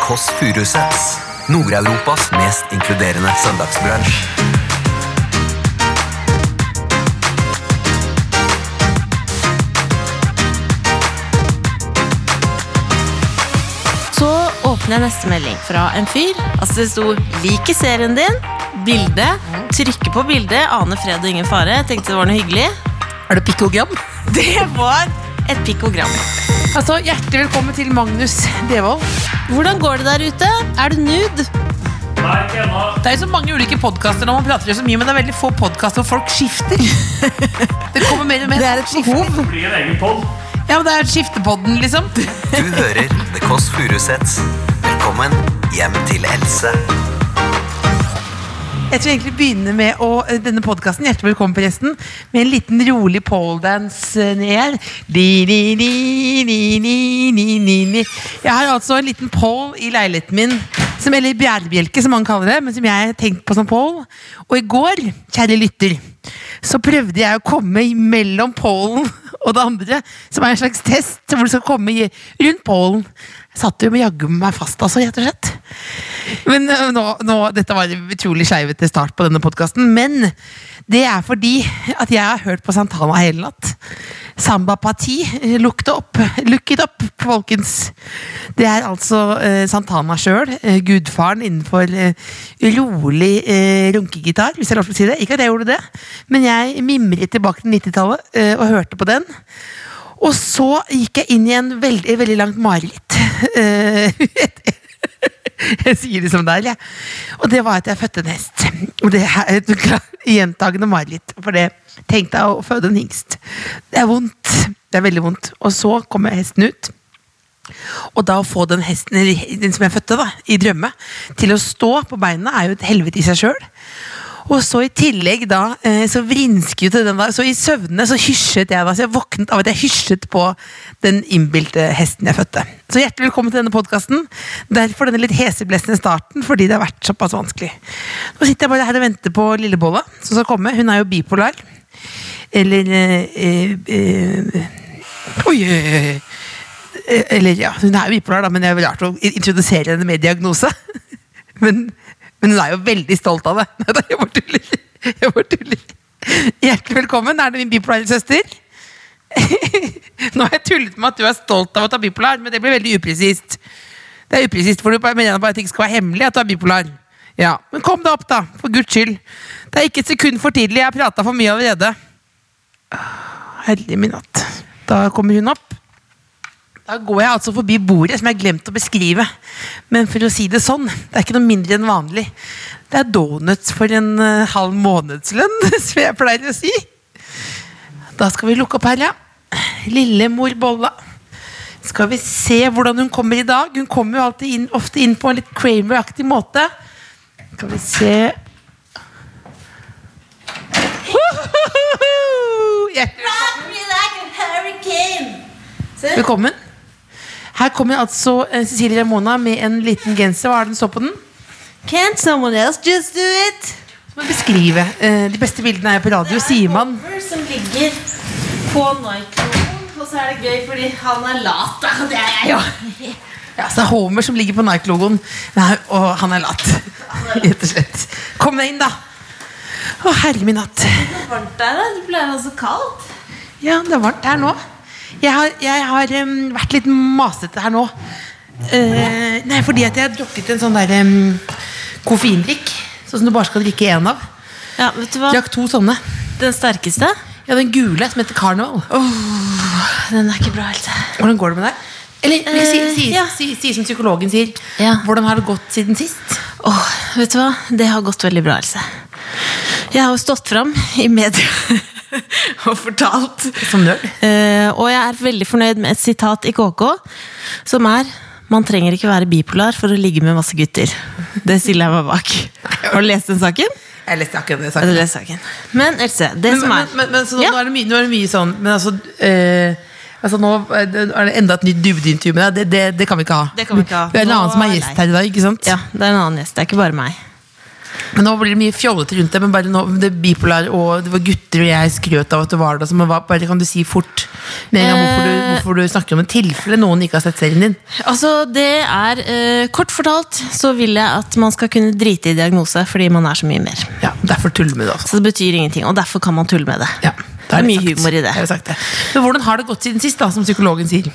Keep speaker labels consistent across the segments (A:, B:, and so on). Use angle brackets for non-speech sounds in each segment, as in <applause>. A: Kåss Furuseths. Nord-Europas mest inkluderende søndagsbransj.
B: Så åpner jeg neste melding fra en fyr. Altså Det sto 'like serien din', bilde. Trykker på bildet. Aner fred og ingen fare. Tenkte det var noe hyggelig.
C: Er det pikkogram?
B: Det var et pikkogram.
C: Altså, Hjertelig velkommen til Magnus Devold.
B: Hvordan går det der ute? Er du nude?
C: Det er jo så mange ulike podkaster når man prater jo så mye, men det er veldig få podkaster hvor folk
B: <laughs>
C: skifter. Det kommer mer og mer.
B: Det er et
C: behov.
D: blir en egen podd.
C: Ja, men det er skiftepodden, liksom.
A: Du hører The Kåss Furuseths. Velkommen hjem til Else.
C: Jeg tror jeg egentlig begynner med å, eh, denne podkasten Hjertelig velkommen forresten Med en liten rolig poledance eh, ned her Di, di, di, di, di, di, di, di. Jeg har altså en liten pole i leiligheten min som, Eller bjærebjelke som man kaller det Men som jeg har tenkt på som pole Og i går, kjære lytter Så prøvde jeg å komme mellom polen og det andre Som er en slags test Hvor du skal komme i- rundt polen Jeg satt jo med jaggu meg fast altså, rett og slett men øh, nå, nå, Dette var utrolig skeivete start på denne podkasten, men det er fordi at jeg har hørt på Santana hele natt. Samba Parti, eh, look it up, look it up, folkens. Det er altså eh, Santana sjøl, eh, gudfaren innenfor eh, rolig eh, runkegitar, hvis jeg har lov til å si det. Ikke at jeg gjorde det, men jeg mimret tilbake til 90-tallet eh, og hørte på den. Og så gikk jeg inn i en veldig, veldig langt mareritt. <laughs> Eh, <laughs> jeg sier det som det er, jeg. Og det var at jeg fødte en hest. Og det er et gjentagende mareritt. For det tenkte jeg å føde en hingst. Det er vondt. Det er veldig vondt. Og så kommer hesten ut. Og da å få den hesten den som jeg fødte da, i drømme, til å stå på beina, er jo et helvete i seg sjøl. Og så i tillegg da, eh, så vrinsket jo til den da, så i søvnene så hysjet jeg da, så jeg våknet av at jeg hysjet på den innbilte hesten jeg fødte. Så hjertelig velkommen til denne podcasten. Derfor denne litt heseblessende starten, fordi det har vært såpass vanskelig. Nå sitter jeg bare her og venter på Lillebolla, som skal komme. Hun er jo bipolar. Eller eh, eh, eh, Oi, oi, oi, oi. Eh, Eller ja, hun er jo bipolar da, men det er jo rart å i- introdusere henne med diagnose. <laughs> Men, men hun er jo veldig stolt av det. <laughs> Nei, jeg bare tuller. Jeg bare tuller. Hjertelig velkommen. Er det min bipolare søster? <laughs> Nå har jeg tullet med at du er stolt av at du er bipolar, men det blir veldig upresist. Det er upresist, for du bare- mener bare at det ikke skal være hemmelig at du er bipolar. Ja, Men kom deg opp, da. For guds skyld. Det er ikke et sekund for tidlig. Jeg har prata for mye allerede. Åh, Herlig min natt. Da kommer hun opp. Da går jeg altså forbi bordet som jeg har glemt å beskrive. Men for å si det sånn, det er ikke noe mindre enn vanlig. Det er donuts for en eh, halv månedslønn, <laughs> som jeg pleier å si. Da skal vi lukke opp her, ja. Lillemor Bolla. Skal vi se hvordan hun kommer i dag. Hun kommer jo alltid inn, ofte inn på en litt Kramer-aktig måte. Skal vi se Hjertelig Velkommen. Her kommer altså eh, Cecilie Ramona med en liten genser. Hva er den så på den?
B: Can't someone else just do it?
C: Så må jeg beskrive. Eh, De beste bildene er jo på radio, sier man.
B: Hopper som ligger på Nike-logoen, og så er det gøy fordi han er lat, da. Det er jeg.
C: Ja. Ja, så det er Homer som ligger på Nike-logoen. Nei, Og han er lat. <laughs> Rett og slett. Kom deg inn, da. Å, herre min hatt.
B: Det er <laughs> varmt der, da. Det pleier å være så kaldt.
C: Ja, det er varmt her nå. Jeg har, jeg har em, vært litt masete her nå. Eh, nei, fordi at jeg har drukket en sånn der um, koffeindrikk. Sånn som du bare skal drikke én av.
B: Ja, vet du hva?
C: Drakk to sånne.
B: Den sterkeste?
C: Ja, den gule som heter Carnival.
B: Den er ikke bra, Else.
C: Hvordan går det med deg? Eller eller si, si,
B: ja.
C: si, si, som psykologen sier.
B: Ja.
C: Hvordan har det gått siden sist?
B: Åh, vet du hva? Det har gått veldig bra, Else. Jeg har jo stått fram i media <laughs> og fortalt.
C: Som nerd.
B: Eh, og jeg er veldig fornøyd med et sitat i KK som er Man trenger ikke være bipolar for å ligge med masse gutter. Det stiller jeg meg bak. <laughs> Har du lest den saken?
C: Jeg leste akkurat det.
B: Har
C: saken.
B: du lest saken? Men Else, det
C: Men,
B: som
C: men,
B: er
C: men, men så nå,
B: Ja.
C: nå, er det mye, nå er det mye sånn Men altså, eh, altså nå er det er det enda et nytt dybdeintervju med deg. Det, det, det kan vi ikke ha.
B: Det kan vi ikke ha.
C: er en
B: Nå
C: annen som er
B: er
C: gjest
B: lei.
C: her i dag, ikke sant?
B: Ja, det er en annen gjest. Det er ikke bare meg.
C: Men nå blir det mye fjollete rundt det, men bare nå, det bipolar og det var gutter og jeg skrøt av at det var det. Så man var, bare kan du si fort med en gang hvorfor du, hvorfor du snakker om et tilfelle noen ikke har sett serien din.
B: Altså, det er eh, Kort fortalt så vil jeg at man skal kunne drite i diagnose fordi man er så mye mer.
C: Ja, Derfor tuller vi det også.
B: Så det betyr ingenting, og derfor kan man tulle med det.
C: Ja,
B: det er mye humor i det.
C: Da er det sagt det. Men hvordan har det gått siden sist, da, som psykologen sier?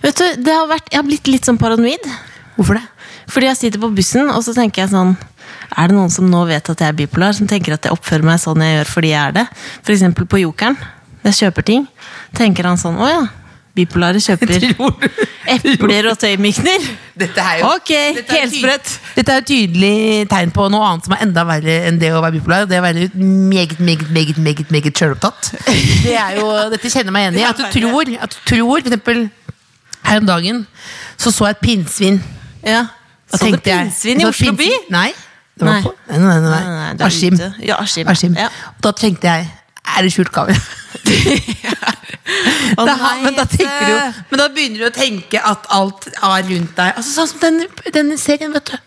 B: Vet du, det har vært, Jeg har blitt litt sånn paranoid.
C: Hvorfor det?
B: Fordi jeg sitter på bussen, og så tenker jeg sånn Er det noen som nå vet at jeg er bipolar, som tenker at jeg oppfører meg sånn jeg gjør fordi jeg er det? F.eks. på Jokeren. Når jeg kjøper ting, tenker han sånn Å ja, bipolare
C: <laughs>
B: kjøper
C: Tror du-
B: epler og tøymykner.
C: Dette er jo
B: Ok,
C: dette er jo tyd-
B: helsprøtt.
C: Dette er jo tydelig tegn på noe annet som er enda verre enn det å være bipolar. og Det er å være meget, meget, meget, meget, meget selvopptatt. Det er jo, dette kjenner jeg meg igjen i. At du tror, at du tror for eksempel her om dagen så så jeg et pinnsvin.
B: Ja.
C: Da
B: Så det
C: tenkte jeg-
B: pinnsvin
C: så
B: i Oslo by?
C: pinnsvin- Nei. Det var
B: Nei.
C: på. Nei, nei, nei, nei.
B: Nei, nei, det er
C: Askim.
B: ute. Ja, Askim. Ja.
C: Da tenkte jeg er det skjult
B: <laughs>
C: <laughs> kamera?
B: Å
C: Da-
B: nei,
C: men, da
B: Jette.
C: tenker du, jo- men da begynner du å tenke at alt er rundt deg. Altså Sånn som den, den serien, vet du.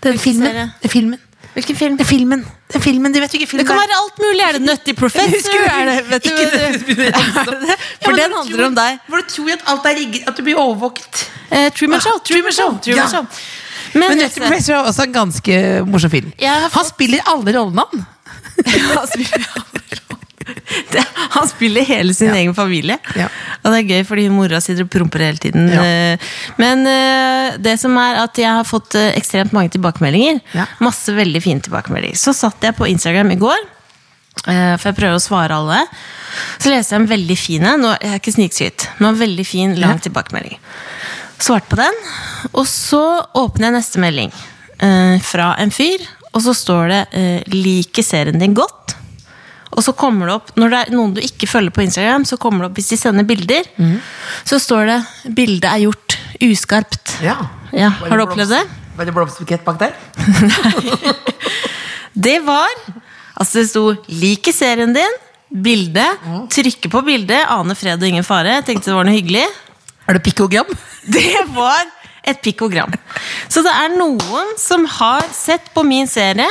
C: Den filmen.
B: serie?
C: Den filmen.
B: Hvilken film?
C: Den filmen. Den filmen. De vet jo ikke
B: Det
C: filmen.
B: kan være alt mulig. Er det Nutty Professor? Er det, vet du,
C: Ikke det,
B: <laughs>
C: du begynner å ramse opp. Ja,
B: For
C: men
B: den
C: du
B: handler
C: tror-
B: om deg.
C: Hvor du tror at alt er rigget, at du blir overvåket.
B: Eh, Truman Show.
C: Ah,
B: Truman Show. Truman
C: Ja.
B: Show. Men,
C: Men Nutty
B: Jette-
C: Professor er også en ganske morsom film.
B: Jeg har
C: Han spiller alle
B: <laughs>
C: rollene, han.
B: Han spiller, Det- han spiller hele sin egen familie.
C: Ja.
B: Og det er gøy, fordi mora sitter og promper hele tiden.
C: Ja.
B: Eh, Men eh, det som er at jeg har fått eh, ekstremt mange tilbakemeldinger.
C: Ja.
B: Masse veldig fine tilbakemeldinger. Så satt jeg på Instagram i går. eh, For jeg prøver å svare alle. Så leste jeg en veldig fin en. Nå- Jeg er ikke snikskryt, men en veldig fin, lang tilbakemelding. Svarte på den. Og så åpner jeg neste melding eh, fra en fyr. Og så står det eh, 'Liker serien din godt'. Og så kommer det opp, Når det er noen du ikke følger på Instagram, så kommer det opp hvis de sender bilder. Så står det 'bildet er gjort uskarpt'. Ja, Har du opplevd det?
C: Var det blomsterbukett bak der?
B: Det var Altså, det sto 'liker serien din', bilde,
C: Mm.
B: trykke på bildet, ane fred og ingen fare. Jeg Tenkte det var noe hyggelig.
C: Er det pikkogram?
B: <laughs> Det var et pikkogram. Så det er noen som har sett på min serie,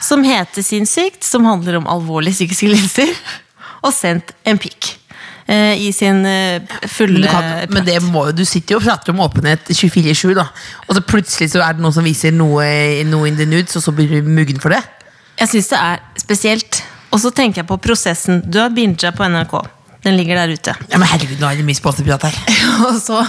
B: som heter Sinnssykt, som handler om alvorlige psykiske lidelser, og sendt en pikk. eh, I sin eh,
C: Men,
B: fulle
C: du kan, men det må jo, du sitter jo og prater om åpenhet 24-7, da. Og så plutselig så er det noen som viser noe, noe in the nudes, og så blir du muggen for det.
B: Jeg syns det er spesielt. Og så tenker jeg på prosessen. Du har binga på NRK. Den ligger der ute.
C: Ja, men herregud, nå er det mye sponsorprat her.
B: <laughs> Og så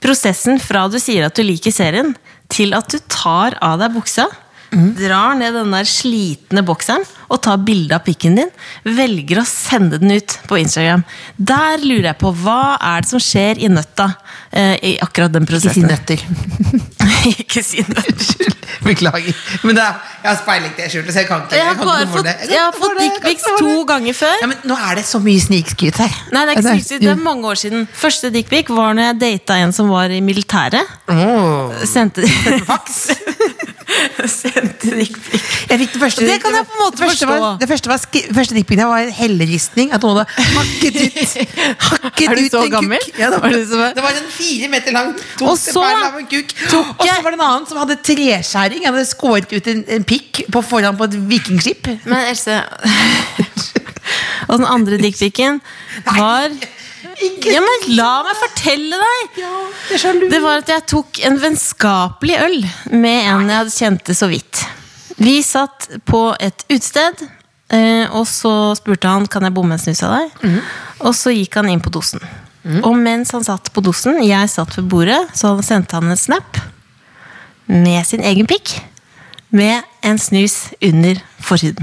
B: prosessen fra du sier at du liker serien, til at du tar av deg buksa, drar ned den der slitne bokseren og tar bilde av pikken din, velger å sende den ut på Instagram. Der lurer jeg på hva er det som skjer i nøtta eh, i akkurat den
C: Ikke si
B: prosessen.
C: nøtter.
B: <laughs> Ikke si nøtt.
C: <laughs> Beklager. Men da, jeg har speiling til skjulet, så jeg kan ikke.
B: <laughs> Jeg har
C: kan
B: bare
C: ikke
B: fått,
C: tåle det. Jeg kan
B: jeg har
C: ikke
B: fått
C: tåle det, jeg kan
B: dickpics
C: ikke tåle
B: to
C: det.
B: ganger før.
C: Ja, men nå er det så mye snikskryt her.
B: Nei, det er Mm. ikke sykt, det er mange år siden. Første dickpic var når jeg data en som var i militæret.
C: Åh.
B: Sendte, <laughs>
C: Faks.
B: sendte dickpic.
C: Jeg fikk det første
B: Det kan jeg på en måte
C: det første
B: forstå.
C: Var, det første, var, sk- første dickpicen var en helleristning. At noen hadde hakket ut hakket
B: <laughs> Er du
C: ut
B: så
C: en
B: gammel?
C: kukk. Ja, det,
B: Var
C: var,
B: det som var-
C: det var en fire meter lang
B: Og
C: tosteperl
B: så
C: av en kuk.
B: tok
C: Og så
B: jeg-
C: var det en annen som hadde treskjæring. Han hadde skåret ut en, en pikk på forhånd på et vikingskip.
B: Men Else <laughs> Og den andre dickpicen var
C: Ikke
B: Ja, men la meg fortelle deg!
C: ja, det er så lurt.
B: Det var at jeg tok en vennskapelig øl med en jeg hadde kjente så vidt. Vi satt på et utested, eh, og så spurte han kan jeg bomme en snus av deg.
C: Mhm.
B: Og så gikk han inn på dosen. Og mens han satt på dosen, jeg satt ved bordet, så han sendte han en snap med sin egen pikk med en snus under
C: <laughs>
B: forhuden.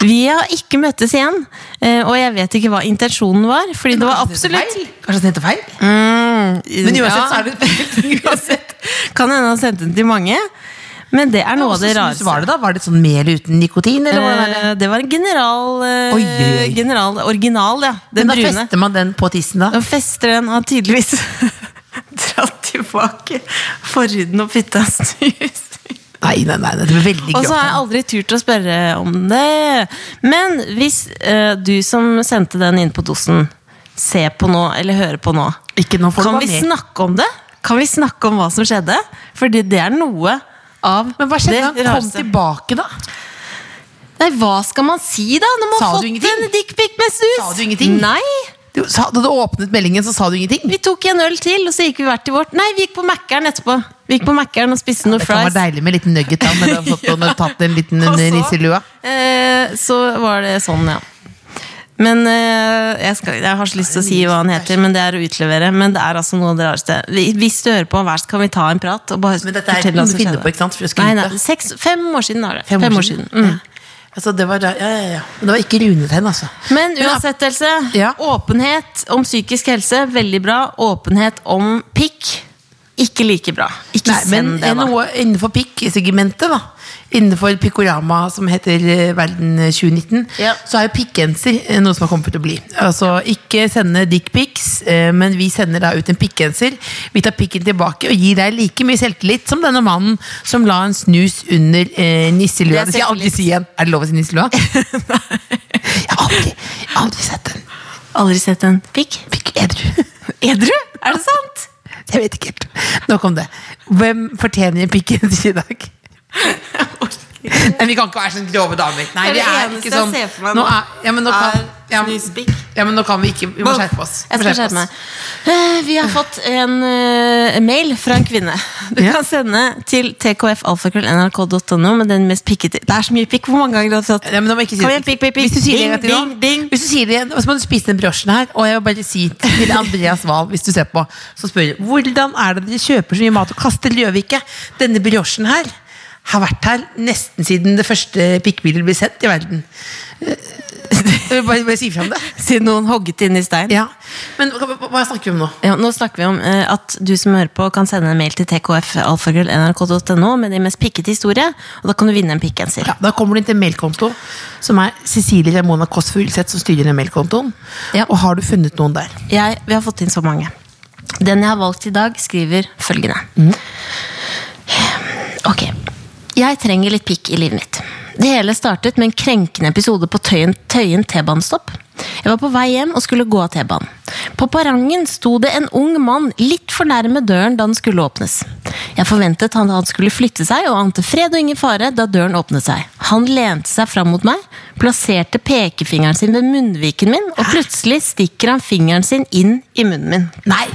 B: Vi har ikke møttes igjen, eh, og jeg vet ikke hva intensjonen var. Fordi det var
C: Kanskje
B: absolutt Mm,
C: feil? Kanskje den heter feil? Men uansett så er det
B: <laughs> Uansett. Kan hende han sendte den til mange. Men det er noe av det
C: Hvordan snus
B: rareste.
C: var det da? Var det sånn mel uten nikotin? Eller hvordan er det?
B: Eh, Det var en general, eh,
C: Oi, oi, oi.
B: general Original, ja. Den
C: Men da
B: brune.
C: fester man den på tissen, da.
B: Og festeren har tydeligvis <laughs> dratt tilbake forhuden og putta snus.
C: Nei, nei, nei, det blir veldig
B: Og så har jeg
C: grovt.
B: aldri turt å spørre om det. Men hvis eh, du som sendte den inn på dosen, ser på nå, eller hører på nå,
C: Ikke nå får du
B: kan
C: være
B: vi
C: med.
B: snakke om det? Kan vi snakke om hva som skjedde? Fordi det er noe av
C: Men hva skjedde da
B: det
C: han kom
B: rareste.
C: tilbake, da?
B: Nei, hva skal man si, da? Når man
C: Sa
B: har
C: du
B: fått
C: ingenting?
B: en dickpic med snus?
C: Sa du ingenting?
B: Nei.
C: Du, sa, da du åpnet meldingen, så sa du ingenting?
B: Vi tok en øl til, og så gikk vi hvert til vårt. Nei, vi gikk på Mækkern etterpå. Vi gikk på Mækkern og spiste noe
C: Det kan
B: fries.
C: være deilig med en liten nugget da, når du har fått når du har tatt en
B: <laughs>
C: liten
B: Og så-
C: nisse i lua.
B: Eh, så var det sånn, ja. Men eh, jeg, skal, jeg har så lyst til å si hva han heter, men det er å utlevere. Men det er altså noe av det rareste. Vi- Hvis du hører på hver, så kan vi ta en prat. Og bare
C: Men dette er
B: fortelle
C: ikke
B: hva
C: noe
B: som
C: du finner
B: skjedde.
C: på, ikke sant? For jeg skulle
B: Nei,
C: ut,
B: nei,
C: da.
B: seks, fem år siden har det.
C: Fem år siden.
B: Mm.
C: Altså, det var, da- ja, ja, ja. Men det var ikke runetegn, altså.
B: Men uansett, Else.
C: Ja.
B: Åpenhet om psykisk helse, veldig bra. Åpenhet om pikk, ikke like bra. Ikke
C: Nei, men
B: send det, da.
C: noe innenfor pikk-segmentet, da. Innenfor Pikkorama, som heter eh, Verden 2019,
B: Ja.
C: så er jo pikkgenser eh, noe som har kommet til å bli. Altså, ikke sende dickpics, eh, men vi sender da ut en pikkgenser. Vi tar pikken tilbake og gir deg like mye selvtillit som denne mannen som la en snus under eh,
B: Det er
C: nisselua. Det skal jeg
B: selvtillit.
C: aldri si igjen. Er det lov å
B: <laughs>
C: si nisselua? jeg har aldri, jeg har aldri sett en
B: Aldri sett en pikk?
C: pikk edru.
B: Edru? Er det sant?
C: Jeg vet ikke helt. Nok om det. Hvem fortjener pikken til i dag? Nei, vi kan ikke være sånne grove damer. Nei,
B: Det er
C: vi
B: det
C: er
B: eneste
C: ikke
B: jeg
C: sånn
B: ser for meg
C: nå
B: nå,
C: er, ja, men nå kan,
B: er
C: ja, men-
B: snuspikk.
C: ja, men nå kan vi ikke Vi må skjerpe oss.
B: Jeg skal skjerpe meg. Eh, Vi har fått en eh, mail fra en kvinne. Du
C: Ja.
B: kan sende til tkfalfakrøllnrk.no med den mest pikkete Det er så mye pikk! Hvor mange ganger har du fått?
C: Ja, men nå må jeg ikke si
B: Kom igjen, pikk, pikk, pikk.
C: Hvis du sier det en gang til
B: Ding, ding,
C: nå,
B: ding.
C: Hvis du sier det, igjen, så må du spise den brosjen her. Og jeg vil bare si til Andreas Wahl, hvis du ser på, så spør jeg hvordan er det dere kjøper så mye mat og kaster Gjøvike? Denne brosjen her har vært her nesten siden det første pikkbilen ble sendt i verden. Jeg vil bare, bare si fra om det.
B: Siden noen hogget inn i stein.
C: Ja. Men hva, hva- hva snakker vi om nå?
B: Ja, nå snakker vi om eh, at du som hører på, kan sende en mail til tkfalfakrøllnrk.no med din mest pikkete historie, og da kan du vinne en pikkgenser.
C: Ja, da kommer du inn til en mailkonto som er Cecilie Ramona Kåss Furuseth som styrer den mailkontoen.
B: Ja.
C: Og har du funnet noen der?
B: Jeg, vi har fått inn så mange. Den jeg har valgt i dag, skriver følgende. Ok. Jeg trenger litt pikk i livet mitt. Det hele startet med en krenkende episode på Tøyen, tøyen T-banestopp. Jeg var på vei hjem og skulle gå av T-banen. På perrongen sto det en ung mann litt for nærme døren da den skulle åpnes. Jeg forventet han, han skulle flytte seg og ante fred og ingen fare da døren åpnet seg. Han lente seg fram mot meg, plasserte pekefingeren sin ved munnviken min, og plutselig stikker han fingeren sin inn i munnen min.
C: Nei!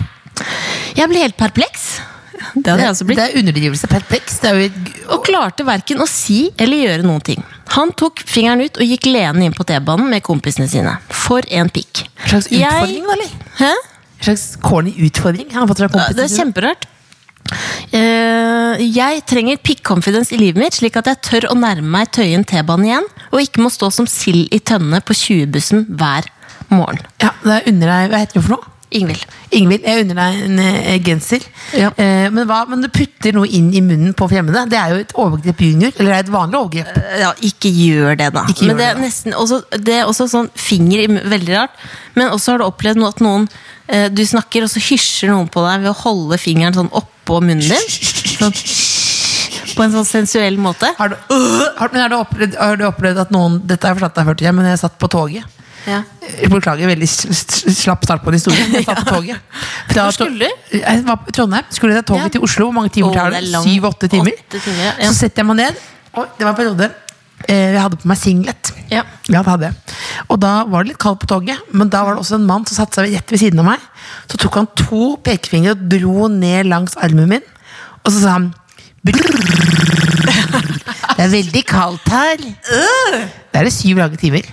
B: Jeg ble helt perpleks. Det hadde
C: Det,
B: jeg også blitt.
C: det er altså underdrivelse. Perpleks. Det er jo et
B: og klarte verken å si eller gjøre noen ting. Han tok fingeren ut og gikk leende inn på T-banen med kompisene sine. For en pikk.
C: En slags
B: Jeg-
C: utfordring, da, eller?
B: Hæ?
C: En slags corny utfordring han har fått fra
B: Det
C: kompisene
B: er kjemperørt. Eh, jeg trenger pikk-confidence i livet mitt, slik at jeg tør å nærme meg Tøyen T-bane igjen, og ikke må stå som sild i tønne på 20-bussen hver morgen.
C: Ja, det er under deg, Hva heter det for noe?
B: Ingvild.
C: Ingvild, jeg unner deg en eh, genser.
B: Ja.
C: Eh, men, hva, men du putter noe inn i munnen på fremmede. Det er jo et overgrep junior. Eller det er et vanlig overgrep.
B: ja, ikke gjør det, da.
C: Ikke gjør
B: men det er
C: det, da.
B: nesten også, Det er også sånn finger i mu- Veldig rart. Men også har du opplevd noe at noen eh, Du snakker, og så hysjer noen på deg ved å holde fingeren sånn oppå munnen din. Sånn, på en sånn sensuell måte.
C: Har du, Øh! har, men har, du opplevd, har du opplevd at noen Dette har jeg fortalt deg før, tror jeg, men jeg satt på toget.
B: Ja.
C: Jeg Eh, Beklager, veldig s- s- slapp start på en
B: <laughs>
C: historie. men Jeg satt på toget. Fra
B: Hvor skulle
C: to- Jeg var på Trondheim. Skulle jeg ta toget
B: Ja.
C: til Oslo. Hvor mange timer
B: Å,
C: tar
B: det
C: det?
B: er langt.
C: Syv-åtte timer.
B: Åtte timer, ja.
C: Så setter jeg meg ned. Og det var en periode eh, jeg hadde på meg singlet.
B: Ja.
C: det hadde jeg. Og da var det litt kaldt på toget, men da var det også en mann som satte seg rett ved siden av meg. Så tok han to pekefingre og dro ned langs armen min, og så sa han <laughs> Det er veldig kaldt her.
B: Øh.
C: Det er det syv lange timer.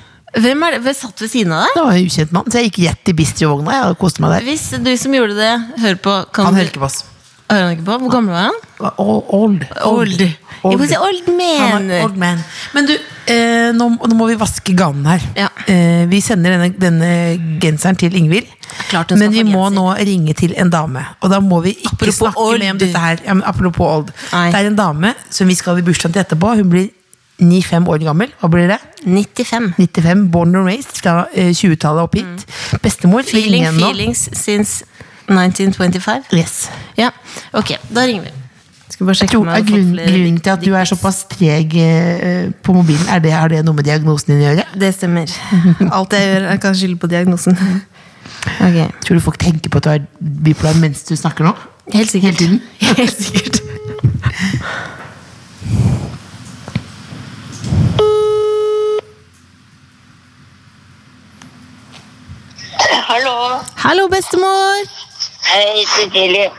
B: Hvem er det? Hvem satt ved siden av deg?
C: Det var en ukjent mann, så jeg gikk rett i bistrovogna jeg, og koste meg der.
B: Hvis du som gjorde det, hører på kan
C: Han
B: du-
C: hører ikke på oss.
B: Hører han ikke på? Hvor gammel var han?
C: Old. Old,
B: Old. Jeg må si old
C: Han
B: man.
C: var old man. Men du, eh, nå, nå må vi vaske ganen her.
B: Ja.
C: Eh, vi sender denne, denne genseren til Ingvild.
B: Klart hun skal
C: Men vi
B: få
C: må
B: genser.
C: nå ringe til en dame. Og da må vi ikke
B: Apropos
C: snakke
B: old.
C: mer om dette her. Ja, men apropos old.
B: Nei.
C: Det er en dame som vi skal i bursdagen til etterpå. Hun blir 9-5 år gammel. Hva blir det?
B: 95.
C: 95, born and raised fra eh, 20-tallet opp hit. Bestemor. vi
B: Mm. Feeling
C: ringer henne nå.
B: feelings since 1925.
C: Yes.
B: Ja, ok, da ringer vi. Skal vi bare sjekke
C: Tror,
B: om jeg
C: er
B: har fått
C: grunnen,
B: flere
C: grunnen
B: dikt-
C: til at du er
B: dikt-
C: såpass treg eh, på mobilen, er det, har det noe med diagnosen din å gjøre?
B: Det stemmer. Alt jeg gjør, jeg kan skylde på diagnosen. Ok,
C: Tror du folk tenker på at du er bipolar mens du snakker nå?
B: <laughs> Helt sikkert.
C: Hele tiden?
B: Helt sikkert.
D: Hallo.
B: Hallo, bestemor!
D: Hei, Cecilie.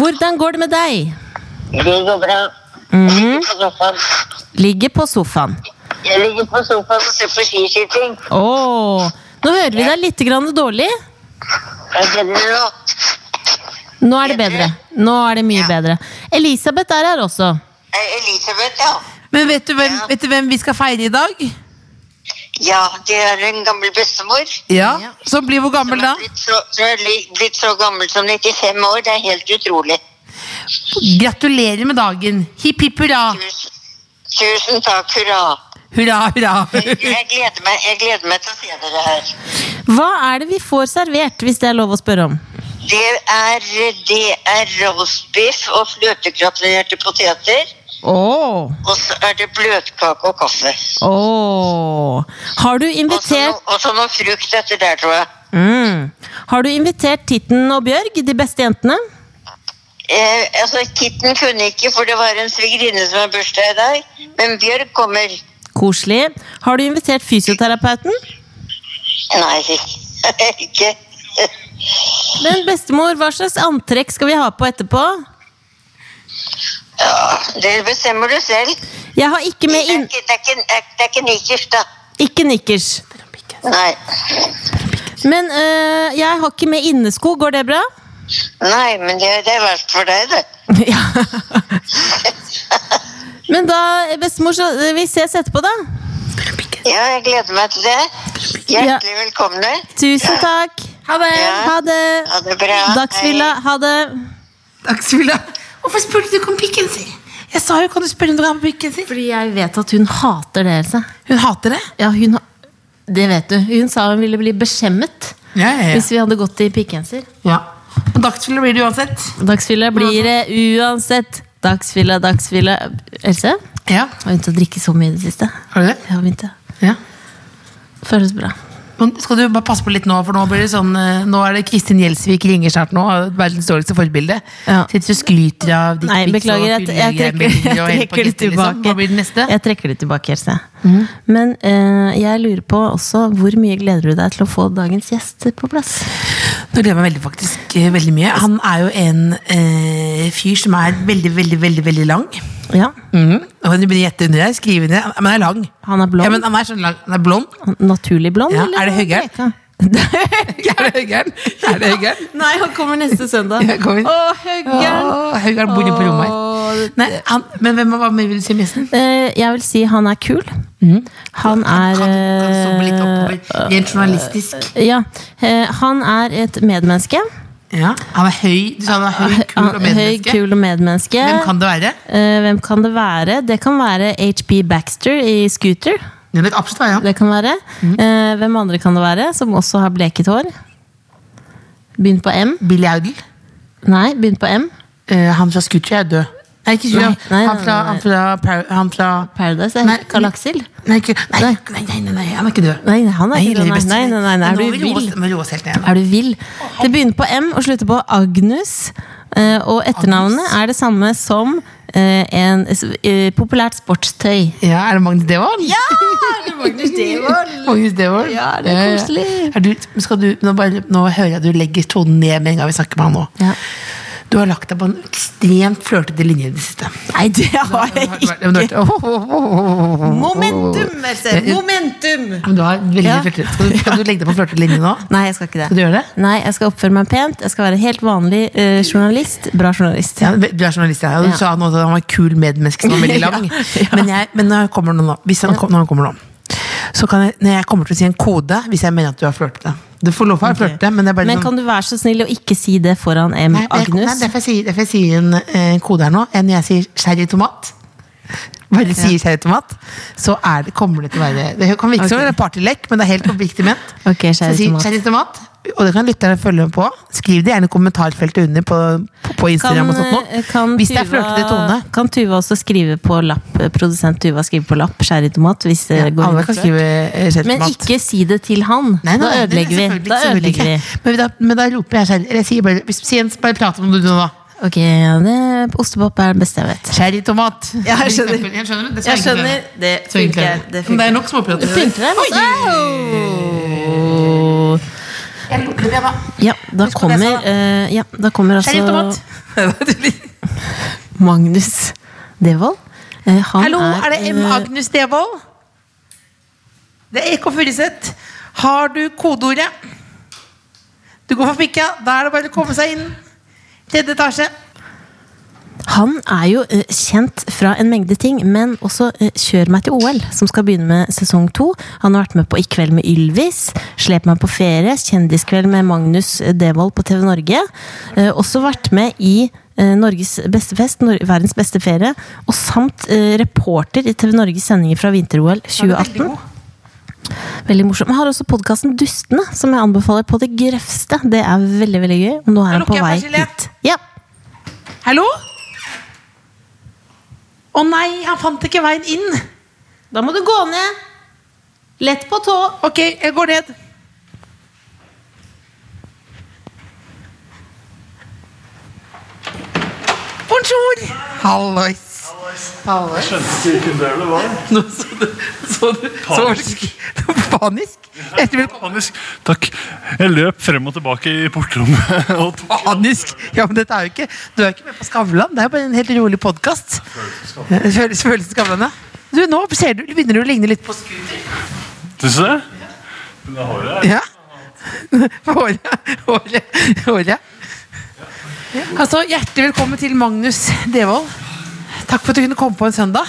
B: Hvordan går det med deg?
D: Det går bra. Jeg
C: Mhm.
D: ligger på sofaen.
B: Ligger på sofaen.
D: Jeg ligger på sofaen og ser på skiskyting.
B: Åh, nå hører vi deg litt grann dårlig.
D: Er det bedre nå?
B: Nå er det bedre. Nå er det mye bedre. Elisabeth er her også.
D: Eh, Elisabeth, ja.
C: Men vet du, hvem, vet du hvem vi skal feire i dag?
D: Ja, det er en gammel bestemor.
C: Ja. Som blir hvor
D: Som
C: gammel da?
D: er blitt så, som er li- blitt så gammel som 95 år. Det er helt utrolig.
C: Gratulerer med dagen. Hipp hipp hurra.
D: Tusen, tusen takk, hurra.
C: Hurra, hurra.
D: Jeg gleder, meg, jeg gleder meg til å se dere her.
B: Hva er det vi får servert, hvis det er lov å spørre om?
D: Det er, det er roastbiff og fløtegratinerte poteter.
B: Åh,
D: Og så er det bløtkake og kaffe.
B: åh. Har du
D: Og så
B: invitert
D: no- og så noe frukt etter der, tror jeg.
B: mm. Har du invitert Titten og Bjørg, de beste jentene?
D: Eh, altså, Kitten kunne ikke, for det var en svigerinne som har bursdag i dag. Men Bjørg kommer.
B: Koselig. Har du invitert fysioterapeuten?
D: Nei, <laughs> ikke.
B: Men bestemor, hva slags antrekk skal vi ha på etterpå?
D: Det bestemmer du selv.
B: Jeg har ikke
D: Det
B: med
D: er
B: inn...
D: ikke, det er ikke, det er ikke nikkers, da.
B: Ikke nikkers.
D: Nei.
B: Men øh, jeg har ikke med innesko, går det bra? <laughs>
D: Nei, men det, det er verst for deg, det.
B: ja. Men da, bestemor, så øh, vi ses etterpå, da.
D: Ja, jeg gleder meg til det. Hjertelig velkomne.
B: Tusen takk. Ha det.
D: Ja.
B: Ha det.
D: Ha det bra.
B: Dagsvilla, ha det.
C: Takk skal du ha. Hvorfor spurte du ikke om pikken sin? Jeg sa jo, kan du spørre om du har på pikken sin?
B: Fordi jeg vet at hun hater det, Else.
C: Hun hater det.
B: Ja, hun ha... Det vet du. Hun sa hun ville bli beskjemmet
C: Ja, ja,
B: hvis vi hadde gått i pikkgenser.
C: ja. På dagsfylla blir det uansett.
B: Dagsfylla blir det uansett. Dagsfylla, dagsfylla. Else, jeg
C: Ja,
B: har begynt å drikke så mye i det siste.
C: har du det?
B: Jeg har begynt det.
C: Ja.
B: Føles bra.
C: Men skal du bare passe på litt nå, for nå blir det sånn eh, Nå er det Kristin Gjelsvik ringer snart nå, har verdens dårligste forbilde.
B: Ja.
C: Sitter og skryter av ditt
B: Nei, beklager. Jeg, jeg, <laughs> trekker, jeg trekker det tilbake.
C: liksom. Hva blir det neste? Mhm.
B: Jeg trekker det tilbake, Else. Men eh, jeg lurer på også hvor mye gleder du deg til å få dagens gjest på plass?
C: Nå gleder jeg meg veldig, faktisk, eh, veldig mye. Han er jo en eh, fyr som er veldig, veldig, veldig, veldig lang.
B: Ja.
C: Mm. Og du begynner å gjette under deg, skrive ned. Men han er lang.
B: Han er blond.
C: Ja, men han er sånn lang. Han er <laughs> blond.
B: Naturlig blond,
C: Ja,
B: eller?
C: er det høggeren?
B: Bleka?
C: er det høggeren? Er det høggeren?
B: Nei, han kommer neste søndag.
C: <laughs> Ja, kom inn.
B: Å, høggeren!
C: Åh, Høggeren bor inne på rommet her. Nei, han, men hvem hva mer vil du si om gjesten?
B: Eh, jeg vil si han er kul. Han
C: Han
B: er
C: kan, kan zoome litt
B: eh,
C: oppover, rent journalistisk.
B: Ja. eh, Han er et medmenneske.
C: Ja, han er høy, du sa han er høy, kul og
B: Han- Ah, Høy,
C: medmenneske.
B: kul og medmenneske.
C: Hvem kan det være?
B: Eh, Hvem kan det være? Det kan være HB Baxter i Scooter.
C: Det er absolutt være han.
B: Det kan være. Eh, Hvem andre kan det være som også har bleket hår? Begynn på M.
C: Billy Audel.
B: Nei, begynn på M.
C: Eh, han fra Scooter er død. Nei, ikke Scooter.
B: Nei, nei,
C: han fra,
B: nei, nei.
C: han fra, Par- han fra
B: Paradise.
C: Nei,
B: Nei, Karl Aksel.
C: Nei, ikke, nei,
B: Nei.
C: nei, nei, nei, nei, han er ikke død.
B: Nei, han er ikke død,
C: Lille
B: nei,
C: Beste.
B: nei, nei, nei, nei, er du
C: Nå vil vi roe oss-
B: vill?
C: må vi roe oss helt ned.
B: Er du vill? Det begynner på M og slutter på Agnus. eh, Og etternavnet er det samme som eh, en, eh, populært sportstøy.
C: Ja, er det Magnus Devold? Ja!
B: Magnus
C: <laughs> Magnus Devold. Eh,
B: Ja, det er koselig.
C: Er du, skal du, nå, bare, nå hører jeg du legger tonen ned med en gang vi snakker med han nå.
B: Ja.
C: Du har lagt deg på en ekstremt flørtete linje i det siste.
B: Nei, det har jeg ikke.
C: Men du har, oh, oh, oh, oh.
B: Momentum, Else! Momentum!
C: Men du har veldig
B: Ja.
C: flørtete. Skal, du- skal du legge deg på flørtete linje nå?
B: Nei, jeg skal ikke det.
C: Skal du gjøre det?
B: Nei, jeg skal oppføre meg pent. Jeg skal være helt vanlig eh, journalist. Bra journalist.
C: Ja, du er journalist, ja. Og Du
B: Ja.
C: sa nå at han var en kul medmenneske som var <laughs> veldig lang.
B: Ja, ja.
C: Men, jeg, men når jeg kommer nå, nå, hvis han, kom, når han kommer nå så kan jeg, når jeg kommer til å si en kode hvis jeg mener at du har flørtete. Du får lov til å flørte, men det er bare
B: Men
C: sånn-
B: kan du være så snill å ikke si det foran M.
C: Nei, men jeg- Nei,
B: Agnus?
C: derfor jeg sier, derfor jeg sier en eh, kode her nå. Eh, Når jeg sier sherry tomat, <laughs> bare sier sherry tomat, så er det, kommer det til å være Det kan virke som
B: Ok.
C: en partylek, men det er helt oppriktig ment.
B: <laughs> Ok,
C: Så jeg
B: sherry
C: sier
B: tomat.
C: sherry tomat, og det kan lytterne følge med på. Skriv det gjerne i kommentarfeltet under på, på, på Instagram og sånt nå.
B: eh, kan
C: Hvis det er
B: Tuva-
C: flørtete tone.
B: Kan Tuva også skrive på lapp eh, produsent Tuva skriver på lapp skjær i tomat? Hvis det går
C: Alle
B: inn
C: kan
B: for-
C: skrive eh, sherry
B: Men
C: tomat.
B: ikke si det til han.
C: Nei, nei,
B: da
C: nei,
B: ødelegger vi.
C: selvfølgelig,
B: Da
C: selvfølgelig
B: ødelegger vi.
C: ikke. Men da, men da roper jeg sherry. Eller jeg sier bare, hvis, si en, bare prat om det du nå, da.
B: Ok, ja, det, ostepop er det beste jeg vet.
C: Cherrytomat.
B: Ja, jeg
E: For
B: skjønner.
E: eksempel. Jeg skjønner det.
B: Jeg skjønner. Det funker.
E: Det, Men det er nok småprat.
B: Det funker det. Au! Ja, da kommer, eh, ja, da kommer
C: <laughs>
B: altså
C: Cherrytomat. Hallo,
B: Magnus Devold. Eh, han
C: er det M.
B: eh,
C: Agnus Devold? Det er EK Furuseth. Har du kodeordet? Du går for pikka. Da er det bare å komme seg inn. Tredje etasje.
B: Han er jo eh, kjent fra en mengde ting, men også eh, Kjør meg til OL, som skal begynne med sesong to. Han har vært med på I kveld med Ylvis, Slep meg på ferie, Kjendiskveld med Magnus eh, Devold på TV Norge. Eh, Også vært med i eh, Norges beste fest, Nor verdens beste ferie, og samt eh, reporter i TV Norges sendinger fra vinter-OL 2018. Veldig morsom. Jeg har også podkasten Dustene, som jeg anbefaler på det grøvste. Det er veldig veldig gøy. Og nå er han på
C: lukker jeg
B: vei
C: for Silje.
B: hit. Ja.
C: Hallo? Å nei, han fant ikke veien inn.
B: Da må du gå ned. Lett på tå.
C: Ok, jeg går ned. Bonjour! Hallois.
F: Skjønte ikke hvem det var.
C: Nå så du så du- så var det- Panisk? Etter vel
F: Panisk. Takk. Jeg løp frem og tilbake i portrommet. <laughs> Og tok
C: panisk? Ja, men dette er jo ikke Du er ikke med på Skavlan. Det er jo bare en helt rolig podkast. Følelsen Skavlan, ja. Du, nå ser du, begynner du å ligne litt på Scooter.
F: du det? Men det har jeg.
C: Ja. Håret. Håret. Håret. Altså, hjertelig velkommen til Magnus Devold. Takk for at du kunne komme på en søndag.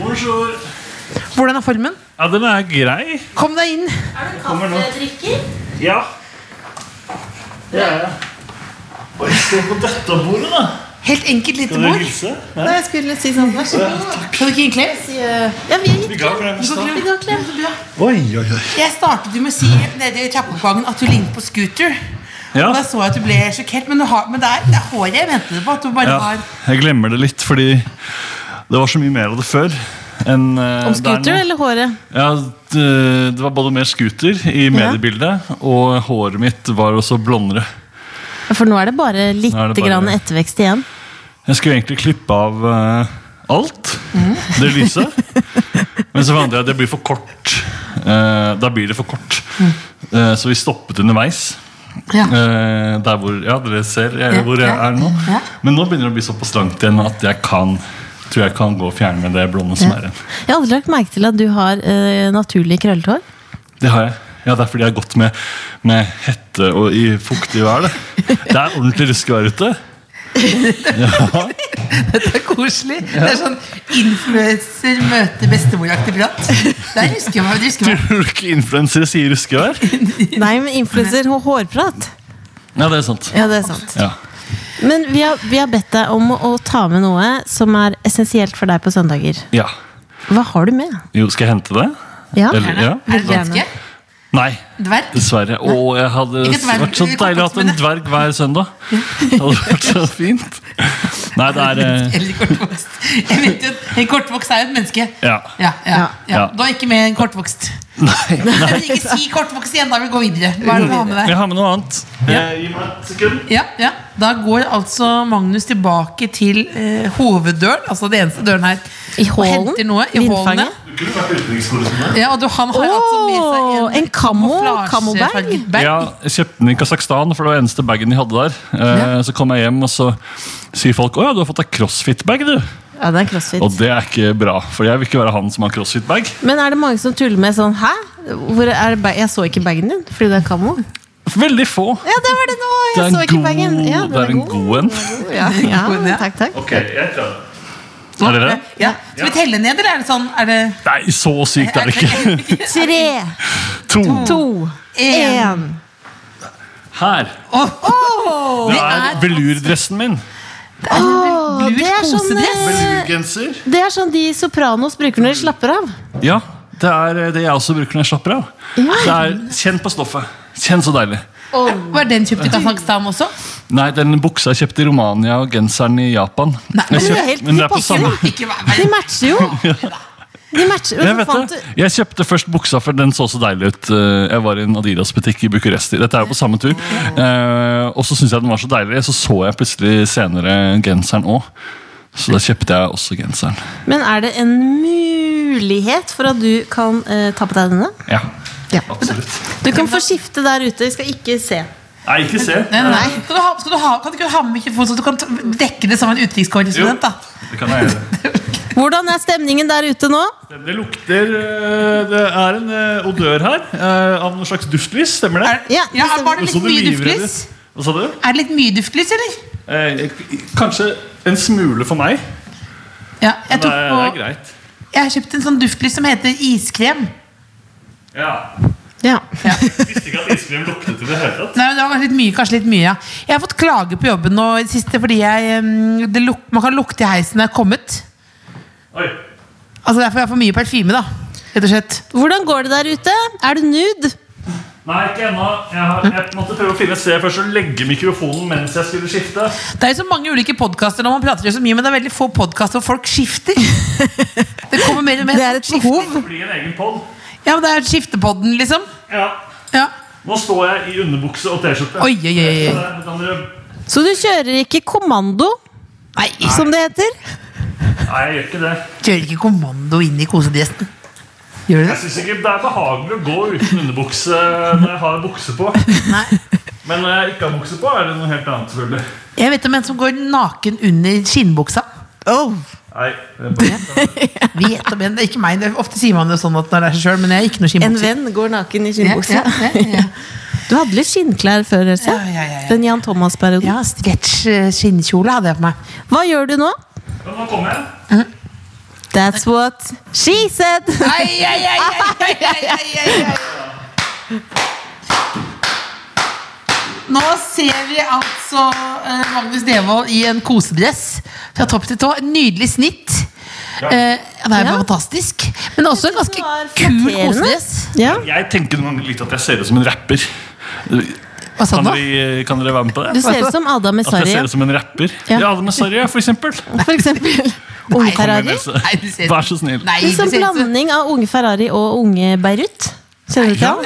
F: Bonjour.
C: Hvordan er formen?
F: Ja, den er grei.
C: Kom deg inn.
F: Kommer nå. Ja. Det er jeg. Oi, se på dette bordet, da.
C: Helt enkelt lite
F: Skal du
C: bord.
F: hilse?
C: Nei, jeg skulle si sånn. Vær så god. Kan du ikke gi en klem?
F: eh,
B: Ja, vi er
F: Vi ga for den i stad.
B: gitt klem.
F: Oi, oi, oi.
C: Jeg startet jo med å si nede i trappeoppgangen at du lignet på scooter.
F: Ja.
C: Og da så jeg at du ble sjokkert, men, du har, men det, er, det er håret jeg ventet på. At du bare
F: ja.
C: har
F: Jeg glemmer det litt, fordi det var så mye mer av det før. enn,
B: Om
F: eh, det er nå.
B: scooter eller håret?
F: Ja, det, det var både mer scooter i mediebildet, og håret mitt var også blondere.
B: For nå er det bare litt
F: Nå er det bare-
B: grann ettervekst igjen.
F: Jeg skulle egentlig klippe av eh, alt det lyse, men så fant jeg at det blir for kort. Eh, da blir det for kort. Eh, så vi stoppet underveis.
C: Ja.
F: Eh, der hvor Ja, dere ser jeg,
C: Ja,
F: hvor jeg
C: ja,
F: er nå.
C: ja.
F: Men nå begynner det å bli såpass langt igjen at jeg kan tror jeg kan gå og fjerne det blonde som er igjen.
B: Jeg har aldri lagt merke til at du har eh, naturlig krøllete hår.
F: Det har jeg. Ja, Det er fordi jeg har gått med, med hette og i fuktig vær. Det, det er ordentlig ruskevær ute. <laughs> Ja.
C: Det er <laughs> koselig. Det er sånn influenser møter bestemoraktig prat. Der husker jeg meg. det husker jeg meg.
F: Tror du ikke influensere sier ruskevær?
B: Nei, men influenser og hårprat.
F: Ja, det er sant.
B: Ja, det er sant.
F: Ja.
B: Men vi har, vi har bedt deg om å, å ta med noe som er essensielt for deg på søndager.
F: ja.
B: Hva har du med?
F: Jo, skal jeg hente det?
B: Ja,
F: Eller, <laughs> ja.
C: Er det
B: Gjerne.
C: danske?
F: Nei,
C: Dverg?
F: dessverre. Å, jeg hadde
C: Ikke dverg,
F: vært så
C: vi kan
F: deilig å ha
C: ikke
F: en dverg hver søndag. Det hadde vært så fint. Nei, det er eh,
C: Eller kortvokst? Jeg vet jo, at En kortvokst er jo et menneske.
F: Ja.
C: Ja, ja, ja.
F: Ja.
C: Du har ikke med en kortvokst.
F: Nei. nei.
C: Men <laughs> ikke si kortvokst igjen, da vil vi gå videre. Hva er det du har med deg?
F: Jeg har med noe annet. Eh, Gi meg et sekund.
C: Ja, ja. Da går altså Magnus tilbake til eh, hoveddøren, altså den eneste døren her.
B: I hallen?
C: Og henter noe i
B: Vindfanget?
C: hålene.
F: Du kunne vært utenrikskorrespondent.
C: Ja, og du, han har altså med seg
B: Åh, en kamo- kamobag?
C: kamuflasjefarget bag.
F: Ja, jeg kjøpte den i Kasakhstan, for det var eneste bagen de hadde der. Eh, Så kom jeg hjem, og så sier folk 'Å ja, du har fått deg crossfit-bag', du.
B: Ja, det er crossfit.
F: Og det er ikke bra, for jeg vil ikke være han som har crossfit-bag.
B: Men er det mange som tuller med sånn Hæ? Hvor er det ba- jeg så ikke bagen din fordi det er kammo.
F: Veldig få.
B: Ja, det var det nå! Jeg
F: Det er
B: så
F: en
B: ikke
F: god,
B: bagen. Ja, den
F: det er en god en.
B: Ja,
C: God, <laughs> ja.
B: ja, takk, takk.
F: Ok, jeg prøver. Er dere det?
C: Ja. Skal vi telle ned, eller er det sånn er det
F: Nei, så sykt er det ikke.
B: Tre,
F: To.
B: to,
C: En.
B: én.
F: Her. Det er velurdressen min.
B: Åh, Det er sånn eh,
F: Velurgenser.
B: Det er sånn de Sopranos bruker når de slapper av.
F: Ja, det er eh, det jeg også bruker når jeg slapper av. Det er Kjenn på stoffet. Kjenn så deilig.
C: Var den kjøpt i Kasakhstan også?
F: Nei, den buksa jeg kjøpte i Romania og genseren i Japan.
C: Nei,
B: men det
F: Jeg
B: er
F: kjøpte-
B: helt-
F: men det er
B: de
F: på
B: passer
F: samme
C: Ikke vær vær-
B: De matcher jo! de matcher.
F: Jeg vet
B: Fant
F: det.
B: du-
F: Jeg kjøpte først buksa, for den så så deilig ut. Eh, Jeg var i en Adidas-butikk i Bucuresti. Dette er jo på samme tur. Eh, Og så syntes jeg den var så deilig, så så jeg plutselig senere genseren òg. Så da kjøpte jeg også genseren.
B: Men er det en mulighet for at du kan eh, ta på deg denne?
F: Ja,
B: Ja.
F: absolutt.
B: Du kan få skifte der ute. Vi skal ikke se.
F: Nei, ikke se.
C: Nei, nei, nei. Skal du ha, skal du ha, kan du ikke ha med mikrofon, så du kan t- dekke det som en
F: Jo,
C: utenrikskorrespondent? da?
F: det kan jeg gjøre.
B: Hvordan er stemningen der ute nå?
F: Det lukter eh, Det er en eh, odør her eh, av noe slags duftlys, stemmer det?
C: Er,
B: Ja, det
C: ja, var det
F: Og så
C: litt mye
F: det livredde.
C: duftlys?
F: Hva sa du?
C: Er det litt mye duftlys, eller?
F: Eh, Kanskje en smule for meg.
C: Ja, jeg,
F: Det
C: tok
F: er, det er
C: på,
F: greit.
C: jeg har kjøpt en sånn duftlys som heter iskrem.
F: Ja.
B: Ja.
F: Visste ikke at iskrem luktet i det hele tatt.
C: Nei, men det var kanskje litt mye, kanskje litt mye, ja. Jeg har fått klage på jobben nå i det siste fordi jeg, em, det luk, man kan lukte i heisen når jeg er kommet.
F: Oi.
C: Altså Derfor har jeg for mye parfyme, da. Rett og slett.
B: Hvordan går det der ute? Er du nude?
F: Nei, ikke ennå. Jeg, har- jeg måtte prøve å finne et sted først og legge mikrofonen mens jeg skulle skifte.
C: Det er jo så mange ulike podkaster når man prater jo så mye, men det er veldig få podkaster hvor folk <laughs> skifter. Det kommer mer og mer.
B: Det er et
C: Skifter.
B: behov.
F: Bli en egen pod.
C: Ja, men det er skiftepodden, liksom.
F: Ja.
C: Ja.
F: Nå står jeg i underbukse og T-skjorte.
C: Oi, oi, oi, oi.
F: Så kan dere-
B: Så du kjører ikke kommando,
C: Nei,
B: som det heter?
F: Nei, jeg gjør ikke det.
C: kjører ikke kommando inn i kosedressen. Gjør du det?
F: Jeg synes ikke det er behagelig å gå uten underbukse når jeg har bukse på.
C: Nei.
F: Men når jeg ikke har bukse på, er det noe helt annet, selvfølgelig.
C: Jeg vet om en som går naken under skinnbuksa. Oh. <laughs>
F: Nei, det er bare...
C: Vet om en, det er ikke meg, det er- Ofte sier man det sånn at når det er seg sjøl, men jeg er ikke noe
B: En
C: skinnbukse.
B: venn går naken i
C: Ja,
B: skinnbuksa.
C: ja, ja, ja.
B: <laughs> Du hadde litt skinnklær før, Else.
C: Ja, ja, ja, ja.
B: Den Jan Thomas-perioden.
C: ja, stretch eh, skinnkjole hadde jeg på meg.
B: Hva gjør du nå?
F: Ja, Nå kommer jeg.
B: That's what she said!
C: Ai, ai, ai, ai, ai, ai, ai, ai. Nå ser vi altså eh, Magnus Devold i en kosedress fra topp til tå. En nydelig snitt. Eh, han er jo
B: Ja.
C: fantastisk. Men også en ganske
B: var
C: kul
B: flatterende.
C: kosedress.
B: Ja.
F: Jeg tenker noen ganger litt at jeg ser ut som en rapper.
C: Hva sa
F: Kan
C: du nå?
F: dere, kan dere være med på
B: <laughs> Du
F: det?
B: ser ut som Adam
F: At jeg
B: Messari,
F: ser ut som en rapper?
B: Ja.
F: Ja, Adam Messari, for eksempel.
B: for eksempel. Unge Ferrari.
F: altså-
C: Nei, du ser-
F: Vær så snill.
C: Nei,
B: Litt sånn
C: det ser ut som-
B: blanding av unge Ferrari og unge Beirut. Ser du til ham?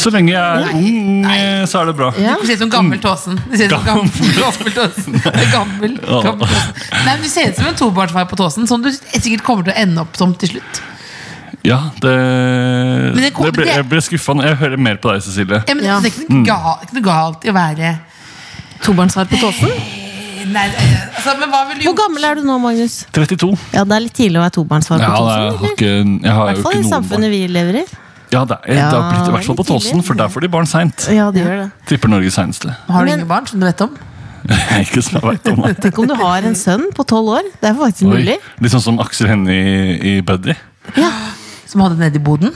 F: Så lenge jeg er ung, eh, så er det bra.
B: Ja.
C: Du ser ut som gammel Tåsen. Du ser ut som gammel, gammel Tåsen. Gammel, gammel Tåsen. Nei, men du ser ut som en tobarnsfar på Tåsen, som du sikkert kommer til å ende opp som til slutt.
F: Ja, det,
C: det kom-
F: det ble, Jeg ble skuffa. Jeg hører mer på deg, Cecilie.
C: Ja, men
B: Ja.
C: Det er ikke noe, galt, ikke noe galt i å være
B: Tobarnsfar på Tåsen.
C: Nei, altså, men hva vil du
B: Hvor gammel er du nå, Magnus?
F: 32.
B: Ja, Det er litt tidlig å være tobarnsfar på
F: Ja, det,
B: Tåsen.
F: jeg har
B: eller?
F: ikke, jeg
B: I
F: har jo
B: hvert fall
F: ikke
B: i
F: noen barn.
B: samfunnet vi lever i.
F: Ja, det, er, det har blitt, I hvert fall på
B: litt tidlig.
F: Tåsen, for der får de barn seint.
B: Ja, det gjør det.
F: Tipper Norges seineste. <laughs>
C: Har du
B: Men-
C: ingen barn som du vet om?
F: ikke som jeg vet om det. <laughs>
B: Tenk om du har en sønn på tolv år. Det er faktisk
F: Oi,
B: mulig.
F: litt sånn som Aksel Hennie i, i Buddy.
C: Som hadde nede i boden?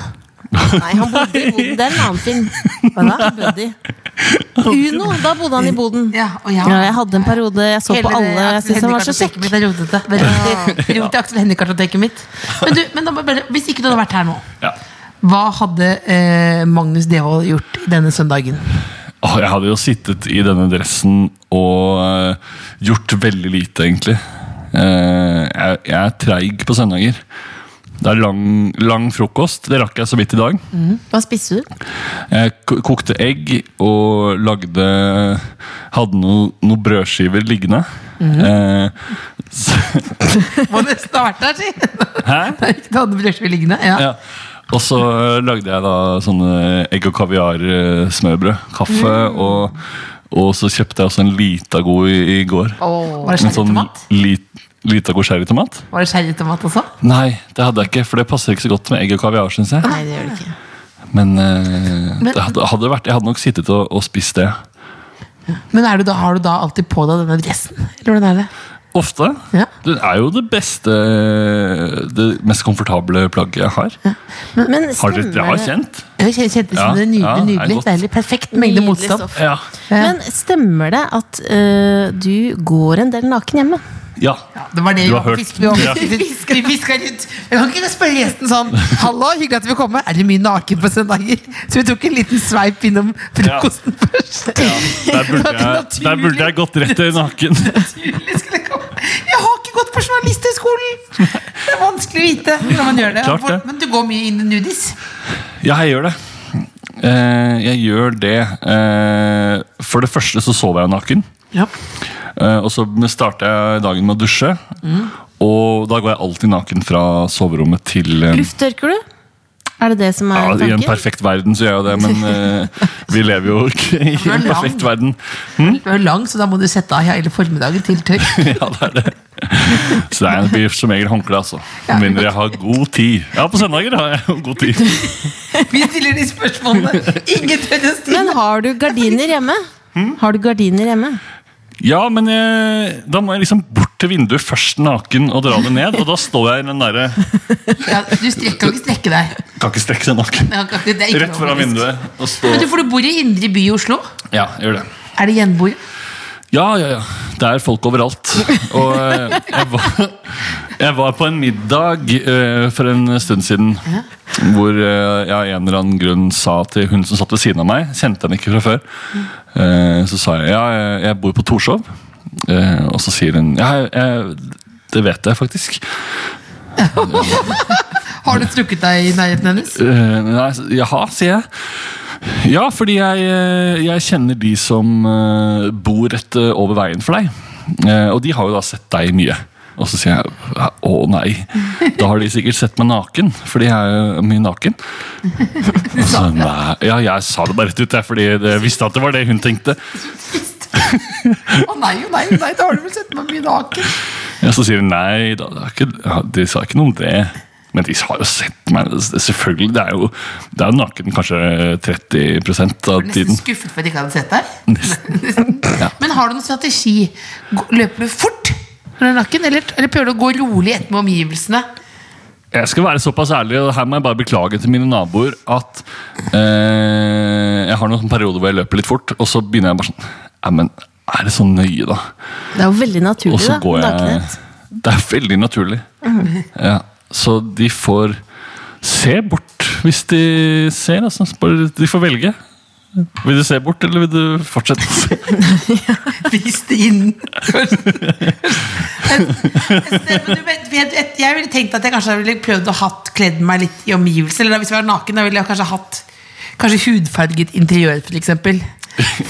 B: Nei, han bodde i Boden. Det er en annen film. Hva da? Buddy.
F: <laughs>
B: Uno. Da bodde han i Boden.
C: Ja, og ja.
B: Ja, jeg hadde en periode jeg så på alle. Jeg synes han var så kjekk.
C: Mitt, jeg rotet
B: <laughs>
C: det. Veldig- Rot i Aksel Hennie-kartoteket mitt. Men, du, men da, må jeg bare- hvis ikke du hadde vært her nå,
F: Ja.
C: hva hadde eh, Magnus Devold gjort denne søndagen?
F: Åh, jeg hadde jo sittet i denne dressen og eh, gjort veldig lite, egentlig. Eh, jeg, jeg er treig på søndager. Det er lang, lang frokost. Det rakk jeg så vidt i dag.
B: Hva
C: <laughs>
B: spiste du?
F: Jeg ko- kokte egg og lagde Hadde noen noe brødskiver liggende. Eh, <laughs> så,
C: Må nesten ha vært der, si!
F: hæ?
C: Ikke det hadde brødskive liggende. Ja.
F: Ja. Og så eh, lagde jeg da sånne egg og kaviar eh, smørbrød. Kaffe.
C: Mm.
F: Og, og så kjøpte jeg også en Litago i, i går.
C: Var det
F: En sånn
C: sherrytomat?
F: lit, Litago sherrytomat?
C: Var det sherrytomat også?
F: Nei, det hadde jeg ikke, for det passer ikke så godt med egg og kaviar. Synes jeg
B: Nei, det gjør du ikke.
F: Men, eh,
C: Men-
F: det hadde, hadde vært, jeg hadde nok sittet og, og spist det.
C: Men er du da, har du da alltid på deg denne dressen? Eller hvordan er det?
F: Ofte.
C: Ja.
F: Det er jo det beste eh, Det mest komfortable plagget jeg har.
B: Men
F: Har dere jeg
B: stemmer
F: har
B: det
F: kjent?
C: Jeg kjente kjente det som
F: Ja,
C: det nydelig,
F: ja, det er
C: nydelig,
F: godt.
C: deilig, perfekt mengde
B: Nydelig
C: motstand.
B: stoff.
F: Ja.
C: Ja.
B: Men stemmer det at eh, du går en del naken hjemme?
F: ja.
C: Ja, det var det
F: Du
C: vi
F: har
C: var på
F: hørt.
C: fisk- vi var
F: Ja.
C: på fisk- Vi fiska rundt. Jeg kan ikke spørre gjesten sånn Hallo, hyggelig at du vil komme. Er det mye naken på søndager? Så vi tok en liten sveip innom frokosten først. <laughs>
F: Der burde, jeg, der burde jeg gått rett til naken.
C: Naturlig skulle jeg komme. Jeg har ikke ikke gått på journalisthøgskolen! Det er vanskelig å vite når man gjør det.
F: Klart det.
C: Men du går mye inn i nudis.
F: Ja, jeg gjør det. Eh, jeg gjør det. Eh, for det første så sov jeg naken.
C: Ja.
F: Eh, og så starter jeg dagen med å dusje. Og da går jeg alltid naken fra soverommet til eh,
B: Lufttørker du? Er det det som er
F: ja, I en
B: tanken?
F: perfekt verden så gjør jeg det, men eh, vi lever jo ikke i
C: er
F: en
C: lang.
F: perfekt verden. <laughs>
C: Du er jo lang, så da må du sette av hele formiddagen til tørk. <laughs>
F: Ja, det er det. Så det er- det blir som regel håndkle, altså. Med mindre jeg har god tid. Ja, på søndager har jeg jo god tid.
C: Vi stiller de spørsmålene ingen tør å stille.
B: Men har du gardiner hjemme?
F: Hmm?
B: Har du gardiner hjemme?
F: Ja, men eh, da må jeg liksom bort til vinduet først naken og dra det ned. Og da står jeg i den derre
C: Ja, du strekker, kan ikke strekke deg.
F: Kan ikke strekke seg naken.
C: Det er ikke
F: Rett foran
C: lov, faktisk.
F: vinduet. og stå...
C: Men du, for du bor i indre by i Oslo.
F: Ja, jeg gjør det.
C: Er det gjenboer?
F: Ja, ja, ja. Det er folk overalt. Og eh, jeg var, jeg var på en middag eh, for en stund siden hvor eh, jeg av en eller annen grunn sa til hun som satt ved siden av meg Kjente henne ikke fra før. Eh, så sa jeg ja, jeg- jeg bor på Torshov. Eh, og så sier hun ja, jeg, det vet jeg faktisk.
C: Har du trukket deg i nærheten
F: <laughs>
C: hennes?
F: Eh, nei, så- jaha, sier jeg. Ja, fordi jeg, eh, jeg kjenner de som eh, bor rett eh, over veien for deg. Eh, og de har jo da sett deg mye. Og så sier jeg "Ja, å nei, da har de sikkert sett meg naken, fordi jeg er jo mye naken. Og Så, nei, ja, jeg sa det bare rett ut, jeg, fordi jeg visste at det var det hun tenkte.
C: Å nei, å nei, å nei, da har du vel sett meg mye naken.
F: Ja, så sier hun nei, da, det er ikke, ja, de sa ikke noe om det. Men de har jo sett meg. det- selvfølgelig, Det er jo, det er jo naken kanskje 30 av tiden.
C: Nesten skuffet for at jeg ikke hadde sett deg.
F: <laughs> Nesten.
C: Nesten. Men har du noen strategi? Gå- Løper du fort når du er naken, eller, eller prøver du å gå rolig etter med omgivelsene?
F: Jeg skal være såpass ærlig, og her må jeg bare beklage til mine naboer at eh, jeg har noen perioder hvor jeg løper litt fort, og så begynner jeg bare sånn Nei, men er det så nøye, da?
B: Det er jo veldig naturlig,
F: Og så
B: da.
F: går jeg
B: nakenhet.
F: Det er veldig naturlig. Ja, så de får se bort hvis de ser, altså. Bare de får velge. Vil du se bort, eller vil du fortsette <laughs> å se?
C: Vis det inn. <laughs> Men du vet, vet, vet, jeg ville tenkt at jeg kanskje ville prøvd å hatt kledd meg litt i omgivelsene. Eller da, hvis jeg var naken, da ville jeg kanskje hatt Kanskje hudfarget interiør, for eksempel.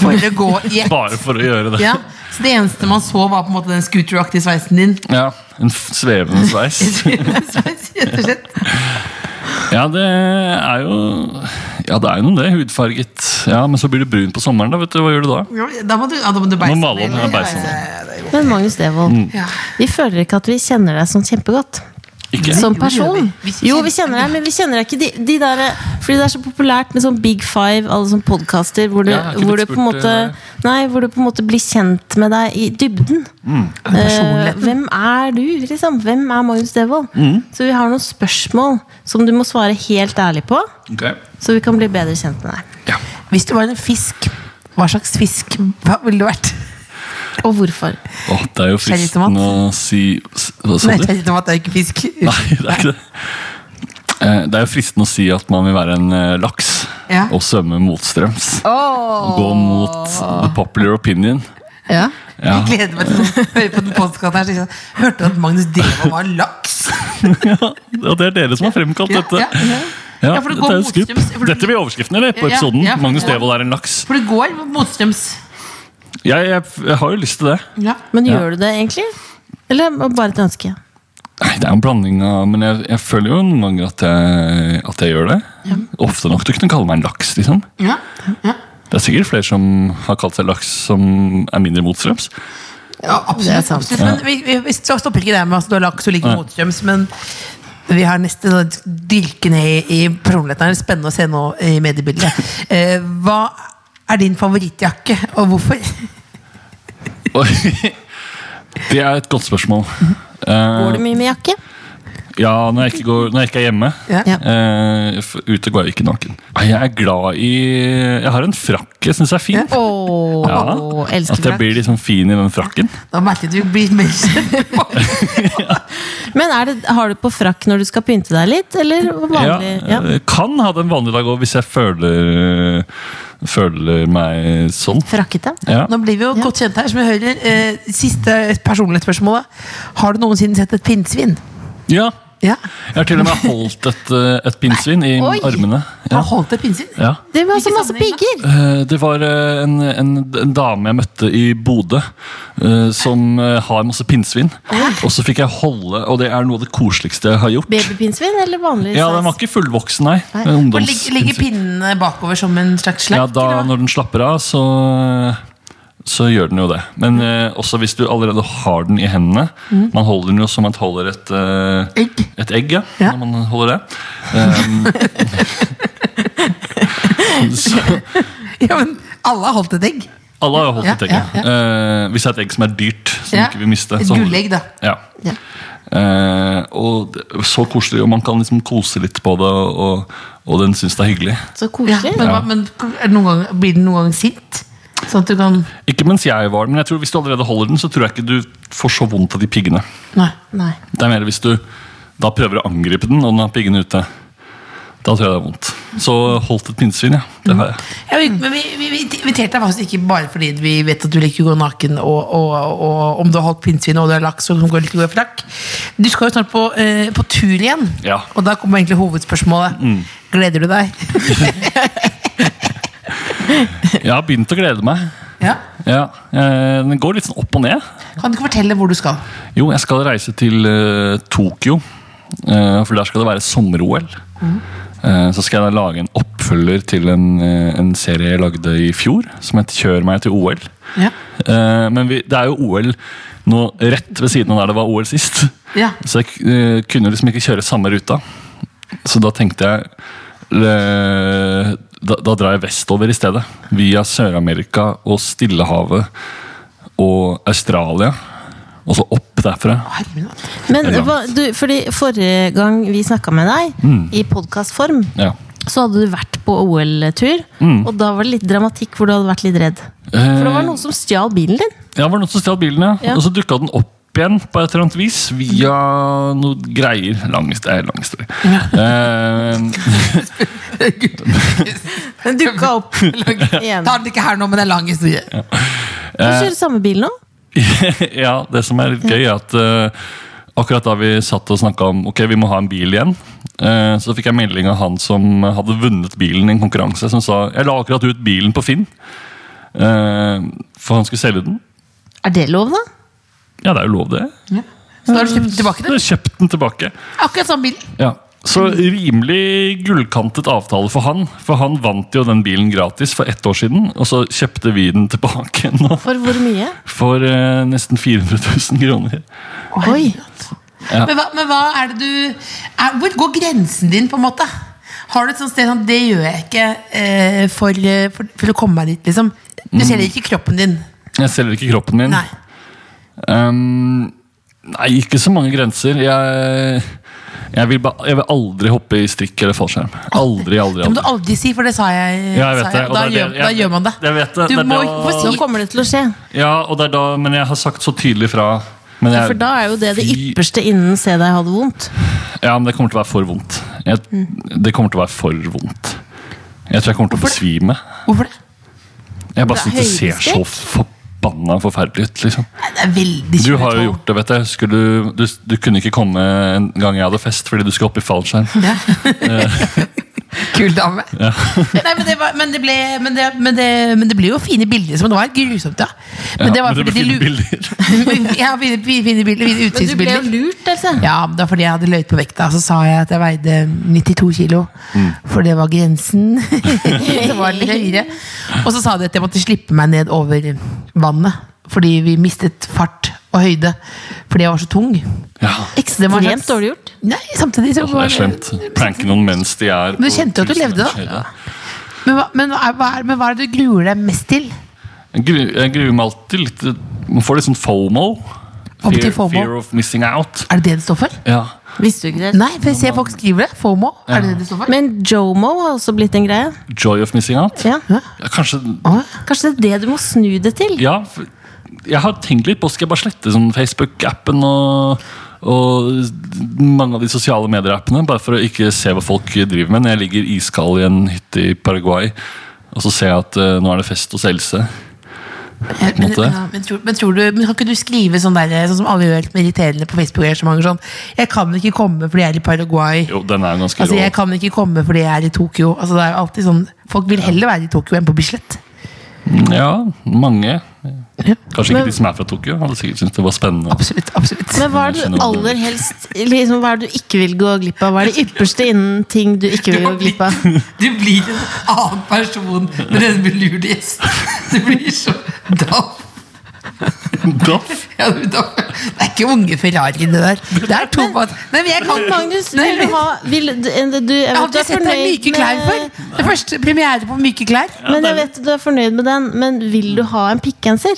C: For å gå
F: <laughs>
C: i ett.
F: Bare for å gjøre det.
C: Ja. Så det eneste man så, var på en måte den scooteraktige sveisen din.
F: Ja, En f- svevende sveis.
C: Sveis, Rett og slett.
F: Ja, det er jo Ja, det er jo noe det, hudfarget. Ja, Men så blir du brun på sommeren, da. vet du, Hva gjør du da?
C: Da må du, ja, da må du beise
F: Må male om, ja, beise om.
B: Men Magnus Devold,
F: Hmm.
C: Ja.
B: vi føler ikke at vi kjenner deg sånn kjempegodt.
F: Ikke?
B: Som
C: Jo, det gjør
B: person.
C: vi. Vi
B: Jo, vi kjenner deg, men vi kjenner deg ikke de, de der Fordi det er så populært med sånn Big Five, alle sånne podkaster, hvor, du-
F: Ja, jeg har ikke
B: hvor,
F: blitt
B: du på en
F: spurt, eh,
B: måte Nei, hvor du på en måte blir kjent med deg i dybden. Eh, hvem er du, liksom? Hvem er Magnus Devold? Så vi har noen spørsmål som du må svare helt ærlig på,
F: Ok.
B: så vi kan bli bedre kjent med deg.
F: Ja.
C: Hvis du var en fisk, hva slags fisk hva ville du vært?
B: Og hvorfor.
F: Åh, det er jo
C: Cherrytomat.
F: fristende å si s- Hva sa
C: Nei,
F: du?
C: jeg vet at det er ikke fisk.
F: Nei, det er ikke det. Eh, Det er jo fristende å si at man vil være en eh, laks
C: Ja.
F: og svømme motstrøms. Og gå mot the popular opinion.
C: Ja.
F: Ja. <laughs>
C: Jeg gleder meg til å høre på den podcasten her. så jeg sa, Hørte du at Magnus Devold var laks?
F: Ja, det er dere som har fremkalt
C: Ja,
F: <laughs> dette.
C: ja, ja.
F: Ja,
C: Ja, for det
F: dette
C: går
F: er jo skup.
C: motstrøms, for det-
F: Dette blir overskriften eller, på
C: Ja,
F: episoden.
C: ja,
F: Magnus
C: ja.
F: Devold er en laks.
C: For det går motstrøms.
F: Jeg, jeg, jeg har jo lyst til det.
C: Ja.
B: Men
F: Ja.
B: gjør du det egentlig? Eller bare et ønske?
F: Nei, Det er jo en blanding av Men jeg, jeg føler jo noen ganger at jeg, at jeg gjør det. Ofte nok til å kunne kalle meg en laks. liksom
C: Ja. Ja.
F: Det er sikkert flere som har kalt seg laks som er mindre motstrøms.
C: ja,
B: Det er
C: absolutt.
B: sant.
C: absolutt. Men vi, vi, vi stopper ikke der med at du har laks og ligger
F: Nei.
C: motstrøms, men vi har neste sånn dyrke ned i i personligheten. her. Det er spennende å se nå i
F: <laughs>
C: mediebildet. Eh, hva er din favorittjakke, og hvorfor? <laughs>
F: Oi. Det er et godt spørsmål. Eh,
B: Går du mye med jakke?
F: Ja, når jeg ikke, går, når jeg ikke er hjemme.
C: Ja.
B: Ja.
F: Eh, f- ute går jeg ikke naken. Nei, Jeg er glad i Jeg har en frakk jeg syns er fin.
B: Å,
F: At
B: elsker
F: jeg
B: frakk.
F: blir liksom fin i den frakken.
C: Da merker jeg at du blir mer kjent.
B: Men er det, har du på frakk når du skal pynte deg litt, eller vanlig? Ja,
F: Ja, eh, Kan ha den vanlige dag òg, hvis jeg føler eh, føler meg sånn.
B: Frakkete.
F: Ja.
C: Nå blir vi jo godt kjent her, som jeg hører. Eh, siste personlige spørsmålet. Har du noensinne sett et pinnsvin?
F: ja.
C: Ja.
F: Jeg har til og med holdt et, eh, et pinnsvin i
B: Oi.
F: armene.
C: Har
F: Ja.
C: holdt et pinnsvin?
F: Ja.
B: Det var så
C: Hvilke
B: masse
C: sammenheng, da?
B: pigger!
F: Eh, Det var eh, en, en, en dame jeg møtte i Bodø, eh, som eh, har masse pinnsvin. Og så fikk jeg holde, og det er noe av det koseligste jeg har gjort.
B: Babypinnsvin eller vanlig
F: Ja,
B: size?
F: Den var ikke fullvoksen, nei.
B: Nei.
F: En
C: Og
F: ungdoms-
C: ligger, ligger pinnene bakover som en slags slakt?
F: Ja, da,
C: eller hva?
F: når den slapper av, så, så gjør den jo det. Men
C: Mm.
F: eh, også hvis du allerede har den i hendene. Man holder den jo som man holder et eh,
C: Egg?
F: Et egg, ja.
C: Ja.
F: Når man holder det. Um, <laughs> så,
C: Ja, men alle har holdt et egg.
F: alle har jo holdt
C: Ja,
F: et egg.
C: ja,
F: Ja, Eh, hvis det er et egg som er dyrt, som
C: Ja.
F: du ikke vil miste. Sånn.
C: Et
F: så holder du-
C: gullegg, da.
F: Ja.
B: Ja.
F: Eh, og det- så koselig, og man kan liksom kose litt på det, og, og, og den syns det er hyggelig.
B: Så
C: Ja,
B: koselig.
C: men, hva- men er det noen gang, blir den noen gang sint? Sånn at du kan
F: Ikke mens jeg var den, men jeg tror hvis du allerede holder den, så tror jeg ikke du får så vondt av de piggene.
C: Nei.
B: Nei.
F: Det er mer hvis du da prøver å angripe den, og den har piggene ute. Da tror jeg det er vondt. Så holdt et pinnsvin, ja. Det har jeg.
C: Ja, vi, men vi, vi, vi inviterte deg faktisk ikke bare fordi vi vet at du liker å gå naken, og, og, og om du har holdt pinnsvin og du har laks og du går litt god i frakk. Du skal jo snart på, eh, på tur igjen,
F: Ja. Mm.
C: og da kommer egentlig hovedspørsmålet. Gleder du deg?
F: Jeg har begynt å glede meg.
C: ja.
F: Ja, eh, Den går litt sånn opp og ned.
C: Kan du ikke fortelle hvor du skal?
F: Jo, jeg skal reise til eh, Tokyo, eh, for der skal det være sommer-OL. Eh, så skal jeg da lage en oppfølger til en, eh, en serie jeg lagde i fjor, som het Kjør meg til OL.
C: Ja.
F: Eh, men vi, det er jo OL nå rett ved siden av der det var OL sist.
C: Ja.
F: Så jeg eh, kunne liksom ikke kjøre samme ruta. Så da tenkte jeg eh, da, da drar jeg vestover i stedet. Via Sør-Amerika og Stillehavet og Australia. Og så opp derfra.
C: Herregud.
B: Men
F: Eller
B: hva, du, fordi forrige gang vi snakka med deg, i podkastform,
F: Ja.
B: så hadde du vært på OL-tur. Og da var det litt dramatikk hvor du hadde vært litt redd. For det var noen som stjal bilen din.
F: Eh, Ja, det var noen som stjal bilen, ja.
B: Ja.
F: Og så dukka den opp igjen på et eller annet vis via noe greier. Lang, his- det er lang historie. Eh,
B: Den dukka
F: <laughs>
B: opp igjen.
C: Ta den ikke her nå, men det er lang historie.
B: Du kjører samme bil nå?
F: <laughs> ja, det som er litt gøy, er at eh, akkurat da vi satt og snakka om ok, vi må ha en bil igjen, eh, så fikk jeg melding av han som hadde vunnet bilen i en konkurranse, som sa jeg la akkurat ut bilen på Finn, eh, for han skulle selge den.
B: Er det lov, da?
F: Ja, det er jo lov, det.
C: Så da har du kjøpt den tilbake den?
F: Så jeg kjøpte den tilbake.
C: Akkurat samme bilen.
F: Ja. Så rimelig gullkantet avtale for han. For han vant jo den bilen gratis for ett år siden, og så kjøpte vi den <laughs> tilbake nå
B: For hvor mye?
F: for eh, nesten 400 000 kroner.
B: Oi.
F: Ja.
C: Men, hva, men hva er det du er, Hvor går grensen din, på en måte? Har du et sånt sted sånn Det gjør jeg ikke eh, for, eh, for, for å komme meg dit, liksom. Du
F: Mm.
C: selger ikke kroppen din.
F: Jeg selger ikke kroppen min.
C: Nei.
F: Ehm, nei, ikke så mange grenser. Jeg, jeg, vil ba, jeg vil aldri hoppe i strikk eller fallskjerm. Aldri, aldri,
C: Det må du
F: aldri.
C: aldri si, for det sa jeg.
F: Ja, jeg vet
C: sa
F: det, og
C: Da,
F: det er
C: gjør,
F: det-
C: da
F: jeg-
C: gjør man det.
F: jeg vet det,
C: Du
F: det er
C: må
F: det
C: ikke
F: å-
C: få
B: Nå
C: si
B: kommer det til å skje.
F: Ja, og det er da, men jeg har sagt så tydelig fra. Men
B: Ja,
F: jeg-
B: for da er jo det det
F: Fy-
B: ypperste innen se deg ha det vondt.
F: Ja, men det kommer til å være for vondt. Jeg, det kommer til å være for vondt. Jeg tror jeg kommer til å besvime.
C: Mm. Hvorfor det?
F: Jeg
B: Det
F: bare
B: er
F: synes det ser så
B: høydeskrekk.
F: forbanna forferdelig ut. liksom.
C: Nei, Det er veldig
F: Du har jo
C: kjøretål.
F: gjort det, vet jeg. Husker du, du, du kunne ikke komme en gang jeg hadde fest fordi du skulle opp i fallskjerm.
C: Ja. Kul dame. <laughs> Nei, men, det var, men, det ble, men, det, men, det, men det ble jo fine bilder, som det var grusomt, ja. Men
F: Ja,
C: det var fordi
F: men det blir
C: de lu-
F: bilder.
C: ja, fine, fine
B: Men
C: bilder, fine
B: du ble jo
C: utsiktsbilder.
B: lurt, altså. Else.
C: Ja, men det var fordi jeg hadde løyet på vekta. Så sa jeg at jeg veide 92 kilo.
F: Mm.
C: For det var grensen. <laughs> det var litt høyere. Og så sa de at jeg måtte slippe meg ned over vannet. Fordi vi mistet fart og høyde. Fordi jeg var så tung.
F: Ja,
C: Det var en
B: Ekstremt
C: slags-
B: dårlig gjort.
C: Nei, samtidig så
F: altså, det er slemt. Pranke noen mens de er
C: Men du
F: på
C: kjente jo at du
F: tusen
C: levde, da.
F: meters høyde.
C: Men hva, men, hva er- hva er, men hva er det du gruer deg mest til?
F: Jeg gru- jeg gruer meg alltid litt. Man får litt sånn FOMO.
C: Hva betyr FOMO?
F: fear of missing out.
C: Er det det det står for?
F: Ja.
B: Visste du ikke det?
C: Nei, for jeg ser folk skriver det. FOMO. Er det det det står for?
B: Men jomo har også blitt en greie.
F: Joy of missing out.
B: Ja.
F: Ja, kanskje
C: Åh,
B: Kanskje det er det du må snu det til?
F: Ja, for- jeg har tenkt litt på Skal jeg bare slette sånn Facebook-appen og, og mange av de sosiale medier-appene Bare for å ikke se hva folk driver med Når jeg ligger iskald i en hytte i Paraguay Og så ser jeg at eh, nå er det fest hos Else.
C: Eh, Men,
F: Måtte det?
C: ja, men, tror, men, tror du, men kan ikke du skrive sånn der, sånn som alle gjør med irriterende på Facebook-arrangementer? Sånn, jeg kan ikke komme fordi jeg er i Paraguay.
F: Jo, den er ganske
C: Altså,
F: rå.
C: jeg kan ikke komme fordi jeg er i Tokyo. Altså, det er jo alltid sånn, folk vil heller være i Tokyo enn på Bislett.
F: Ja, mange.
C: Ja.
F: Kanskje ikke
B: Men-
F: de som er fra Tokyo. Hadde sikkert syntes det var spennende.
C: Absolutt. absolutt.
B: Men hva er det du aller helst liksom, Hva er det du ikke vil gå glipp av? Hva er det ypperste innen ting du ikke vil gå glipp
C: <laughs>
B: av?
C: Du blir en annen person når en belurt gjest. Du blir så daff.
F: <laughs> Doff!
C: Ja, du daff. Det er ikke unge Ferrari, det der. Det er to Nei, men jeg kan
B: Magnus,
C: Nei,
B: vil du ha vil, du, du, jeg
C: Jeg har
B: vet, du
C: aldri
B: er
C: sett deg i myke
B: fornøyd
C: klær før.
B: med
C: Det er første premiere på myke klær.
B: men jeg vet du er fornøyd med den, men vil du ha en pikkgenser?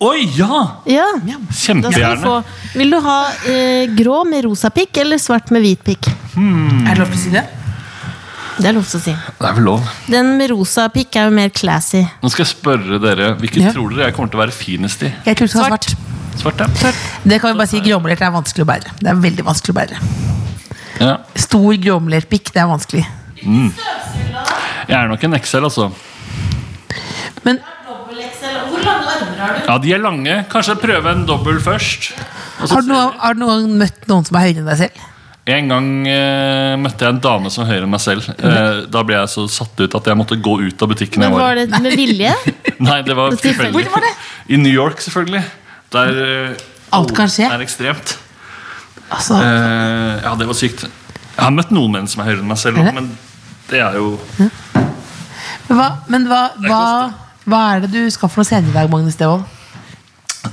F: Oi, ja!
B: Ja. Da skal du
F: Kjempegjerne.
B: få. Vil du ha eh, grå med rosa pikk eller svart med hvit pikk?
C: Er det lov til å si det?
B: Det er lov til å si.
F: Det er vel lov.
B: Den med rosa pikk er jo mer classy.
F: Nå skal jeg spørre dere, hvilken
C: Ja.
F: tror dere jeg kommer til å være finest i?
C: Jeg tror du skal ha svart.
F: Svart, ja.
C: Det kan vi bare si, Gråmelert er vanskelig å bære. Det er veldig vanskelig å bære.
F: ja.
C: Stor gråmelert pikk, det er vanskelig.
F: Jeg er nok en XL, altså.
C: Men
B: Hvor lange armer har du?
F: Ja, de er lange. Kanskje prøve en dobbel først. Og så
C: har du, noen, har du noen gang møtt noen som er høyere enn deg selv?
F: En gang eh, møtte jeg en dame som var høyere enn meg selv. Eh, da ble jeg så satt ut at jeg måtte gå ut av butikken.
B: Men
F: jeg
B: var
F: var. i.
B: det med vilje?
F: Nei, det var
B: Det tilfeldig.
F: tilfeldig.
B: Hvor var
F: I New York, selvfølgelig. Der eh,
C: Alt kan skje.
F: er ekstremt.
C: Altså,
F: Eh, ja, det var sykt. Jeg har møtt noen menn som er høyere enn meg selv,
C: Er det?
F: men det er jo
C: hva, men hva,
F: er
C: hva, hva er det du skal for noe senere i dag, Magnus Devold?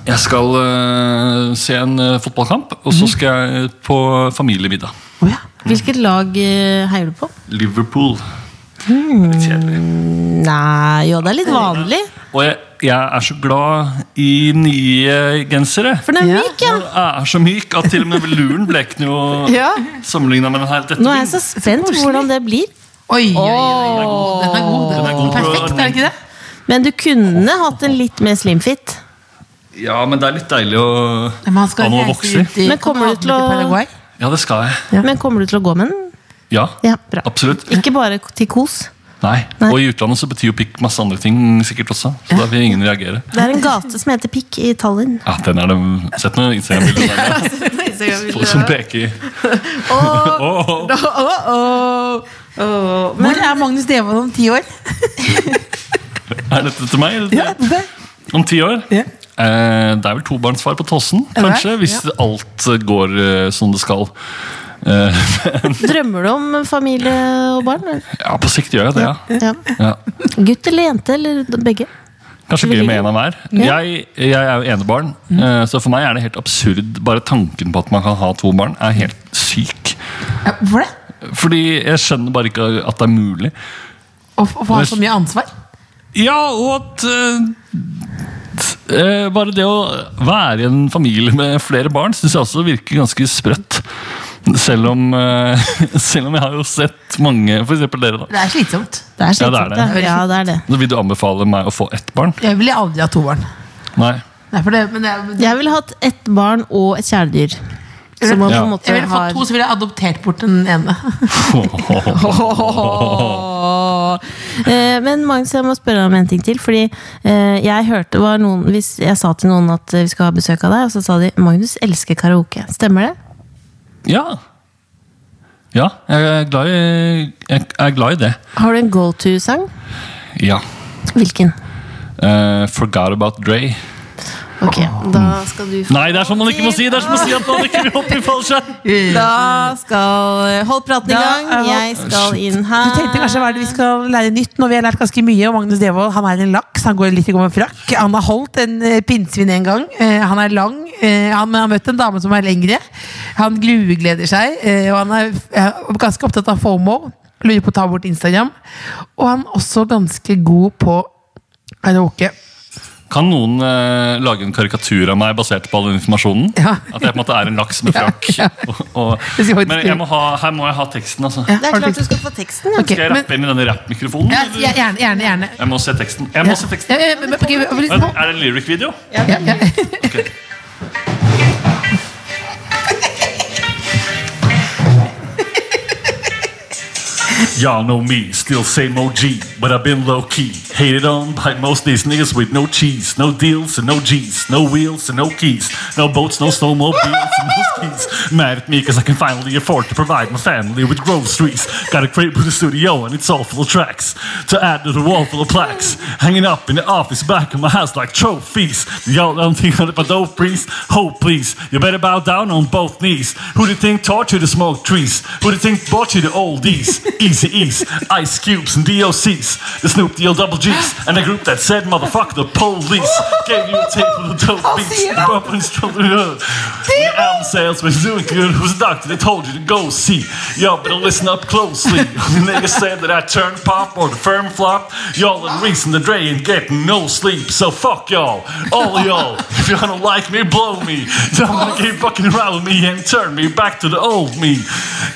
F: Jeg skal eh, se en eh, fotballkamp, og
B: Mhm.
F: så skal jeg ut på familiemiddag.
C: Å ja.
B: Hvilket lag eh, heier du på?
F: Liverpool.
B: Mm.
F: Litt kjedelig.
B: Nei, jo, det er litt vanlig.
F: Og jeg, jeg er så glad i nye gensere.
B: For den er
C: Ja.
B: myk, ja.
F: Den er så myk at til og med luren blekner jo
B: Ja.
F: sammenligna med den her. Dette
B: Nå er jeg så
F: blir-
B: spent på hvordan det blir.
C: Oi, oi, oi, oi. Den er god. Den
F: Den
C: er
F: er
C: god.
F: god.
C: Perfekt, er det ikke det?
B: Men du kunne hatt en litt mer slimfit.
F: Ja, men det er litt deilig å
C: Men han skal
F: Han må
C: reise
F: vokse.
C: ut i
B: Men kommer du til å-
C: Paraguay.
F: Ja, det skal jeg.
B: Men kommer du til å gå med den?
F: Ja.
B: Ja, bra.
F: Absolutt.
B: Ikke bare til kos.
F: Nei.
B: Nei.
F: Og i utlandet så betyr jo pikk masse andre ting sikkert også. Så da vil ingen reagere.
B: Det er en gate som heter Pikk i Tallinn.
F: Ja, den er det Sett noen Instagram-bilder
B: <laughs>
F: der, folk som peker. Åh.
C: Hvor er Magnus Devold om ti år?
F: Er dette til meg? Eller?
C: Ja, det.
F: Om ti år?
C: Ja.
F: Eh, det er vel tobarnsfar på Tossen,
C: Er det?
F: kanskje. Hvis alt går eh, som det skal. Eh, <laughs>
B: Drømmer du om familie og barn?
F: ja, på sikt gjør jeg det, ja.
B: Ja.
F: ja.
B: Gutt eller jente, eller begge?
F: Kanskje
B: Veldig
F: gøy med en av hver. Jeg, jeg er jo enebarn, eh, så for meg er det helt absurd. Bare tanken på at man kan ha to barn, er helt syk.
C: Ja, Hvorfor det?
F: Fordi jeg skjønner bare ikke at det er mulig.
C: Å f- å få ha så mye ansvar?
F: Ja, og at eh, eh, Bare det å være i en familie med flere barn syns jeg også virker ganske sprøtt. Selv om, eh, <laughs> selv om jeg har jo sett mange, f.eks. dere, da.
C: Det er slitsomt.
B: Det er
F: Ja, det er
B: slitsomt,
F: det.
B: ja. Ja, det er det.
F: Så vil du anbefale meg å få ett barn?
C: Jeg ville aldri hatt to barn.
F: Nei.
C: Nei, for det, men det, men det,
B: Jeg ville hatt ett barn og et kjæledyr. Som man på
F: Ja.
B: en
C: jeg
B: måte
C: ville fått
B: har
C: to, så ville jeg adoptert bort den ene.
B: Eh, Men Magnus, jeg må spørre deg om en ting til. Fordi eh, jeg hørte var noen Hvis jeg sa til noen at eh, vi skal ha besøk av deg, og så sa de Magnus elsker karaoke. Stemmer det?
F: Ja. Ja, jeg er glad i, jeg er glad i det.
B: Har du en go to-sang?
F: Ja.
B: Hvilken?
F: Eh, forgot about Dre.
B: Ok, da skal du få
F: Nei, det er sånn man ikke må si! Det er som å si at man ikke vil hoppe i fallskjerm!
B: Da skal eh, Hold praten i
C: Da
B: gang.
C: er
B: Jeg skal inn
C: Du
B: her.
C: tenkte kanskje hva er det vi skal lære nytt når vi har lært ganske mye. Og Magnus Devold han er en laks, han går litt i går med frakk. Han har holdt en eh, pinnsvin en gang. Eh, Han er lang. Eh, Han har møtt en dame som er lengre. Han gruegleder seg, eh, og han er eh, ganske opptatt av FOMO. Lurer på å ta bort Instagram. Og han er også ganske god på karaoke.
F: Kan noen eh, lage en karikatur av meg basert på all den informasjonen?
C: Ja.
F: At jeg på en måte er en laks med frakk.
C: ja.
F: Og, og,
C: Det skal vi
F: men jeg må ha, her må jeg ha teksten, altså.
C: Ja,
B: Det er
C: har du
B: klart du
C: tenkt-
B: skal få teksten. Ja.
C: Ok,
F: Skal jeg
C: men-
F: rappe inn i denne rappmikrofonen?
C: Ja,
F: eller?
C: ja, Gjerne, gjerne. gjerne.
F: Jeg må se teksten. Jeg må se teksten.
C: Ja, ja, men- ok,
F: Er
C: men-
F: er det en lyric-video?
C: ja, ja.
G: Y'all know me, still same OG, but I've been low key. Hated on by most these niggas with no cheese, no deals and no G's, no wheels and no keys, no boats, no snowmobiles and no skis. Mad at me because I can finally afford to provide my family with groceries. Got a crate with a studio and it's all full of tracks. To add to the wall full of plaques, hanging up in the office back of my house like trophies. Y'all don't think I'm a dope priest? Oh please, you better bow down on both knees. Who do you think taught you to smoke trees? Who do you think bought you the oldies? Easy E's, Ice Cubes, and DOCs, the Snoop DL Double Gs, and the group that said, motherfucker, the police gave you a tape with the dope beats, the bump and stroll the hood. The album sales was doing good. Who's the doctor? They told you to go see. Y'all better listen up closely. <laughs> the niggas said that I turned pop or the firm flop. Y'all and Reese and the Dre ain't getting no sleep, so fuck y'all. All y'all. If y'all don't like me, blow me. Y'all wanna keep fucking around with me and turn me back to the old me.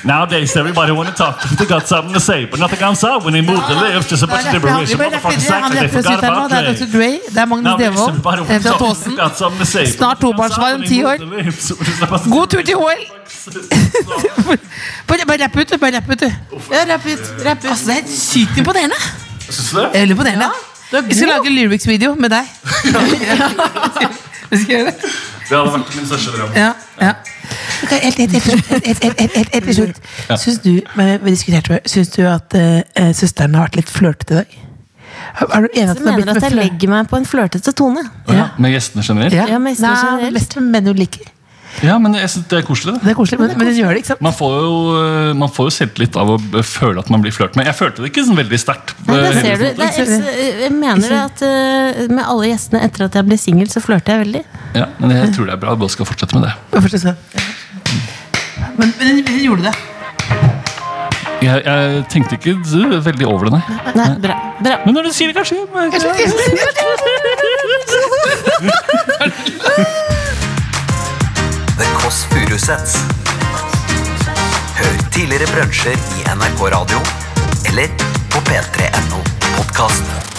G: Nowadays, everybody wanna talk. They got something to say, but nothing comes out when they move the lips. Just a bunch of
C: Vi
G: liberation.
C: ble lagt
G: Motherfuckers
C: videre.
G: act
C: Han rekker å si
G: like they forgot
C: fem nå.
G: about
C: Det er
G: Dre.
C: Dr. Dre, det er Magnus
G: Nowadays,
C: Devold,
G: everybody wanna
C: Evra
G: talk.
C: Taasen.
G: They got something to say, but
C: Snart
G: nothing comes
C: tobarnsfaren,
G: out when they
C: 10
G: move
C: år.
G: the lips. Just a bunch of
C: God tur til OL!
G: motherfuckers.
C: <laughs> Bare bare rapp ut, du. Bare rapp ut, du.
B: Ja, rapp ut. Rapp ut.
C: Altså, det er helt sykt imponerende.
G: Syns du det?
C: Veldig imponerende. Vi skal lage lyrics-video med <laughs> deg. Vi skal gjøre det.
G: Det hadde vært min største drøm.
C: Ja, ja. Ok, helt, helt, helt, til slutt. helt, helt, helt, helt, helt til slutt. Syns du, men vi diskuterte det, syns du at uh, søsteren har vært litt flørtete i dag? Er er du enig at
B: Du
C: hun har
B: mener
C: blitt
B: at
C: med
B: jeg
C: flør-
B: legger meg på en flørtete tone?
G: Ja, med gjestene generelt?
C: Ja,
B: Ja,
C: Nei,
B: mest generelt.
C: mest med menn hun liker.
G: Ja, men jeg synes det er koselig. det
C: Det er koselig, men, men hun gjør det, ikke sant?
G: man får, jo, eh, man får jo selvtillit av å b- føle at man blir flørt med. Jeg følte det ikke sånn veldig sterkt.
B: Nei, det
G: eh,
B: ser du.
G: hele
B: Det er, jeg- jeg mener det at eh, med alle gjestene etter at jeg ble singel, så flørter jeg veldig.
G: tiden. Ja, men jeg tror det er bra. Jeg bare skal fortsette med det.
C: Hvorfor skal jeg- sånn. Men, men hun- hun gjorde det.
G: Jeg, jeg tenkte ikke så veldig over det, nei.
B: Nei, bra. bra.
G: Men når du sier det, kanskje. kanskje.
A: The Kåss Furuseths. Hør tidligere brunsjer i NRK Radio eller på p3.no podkast.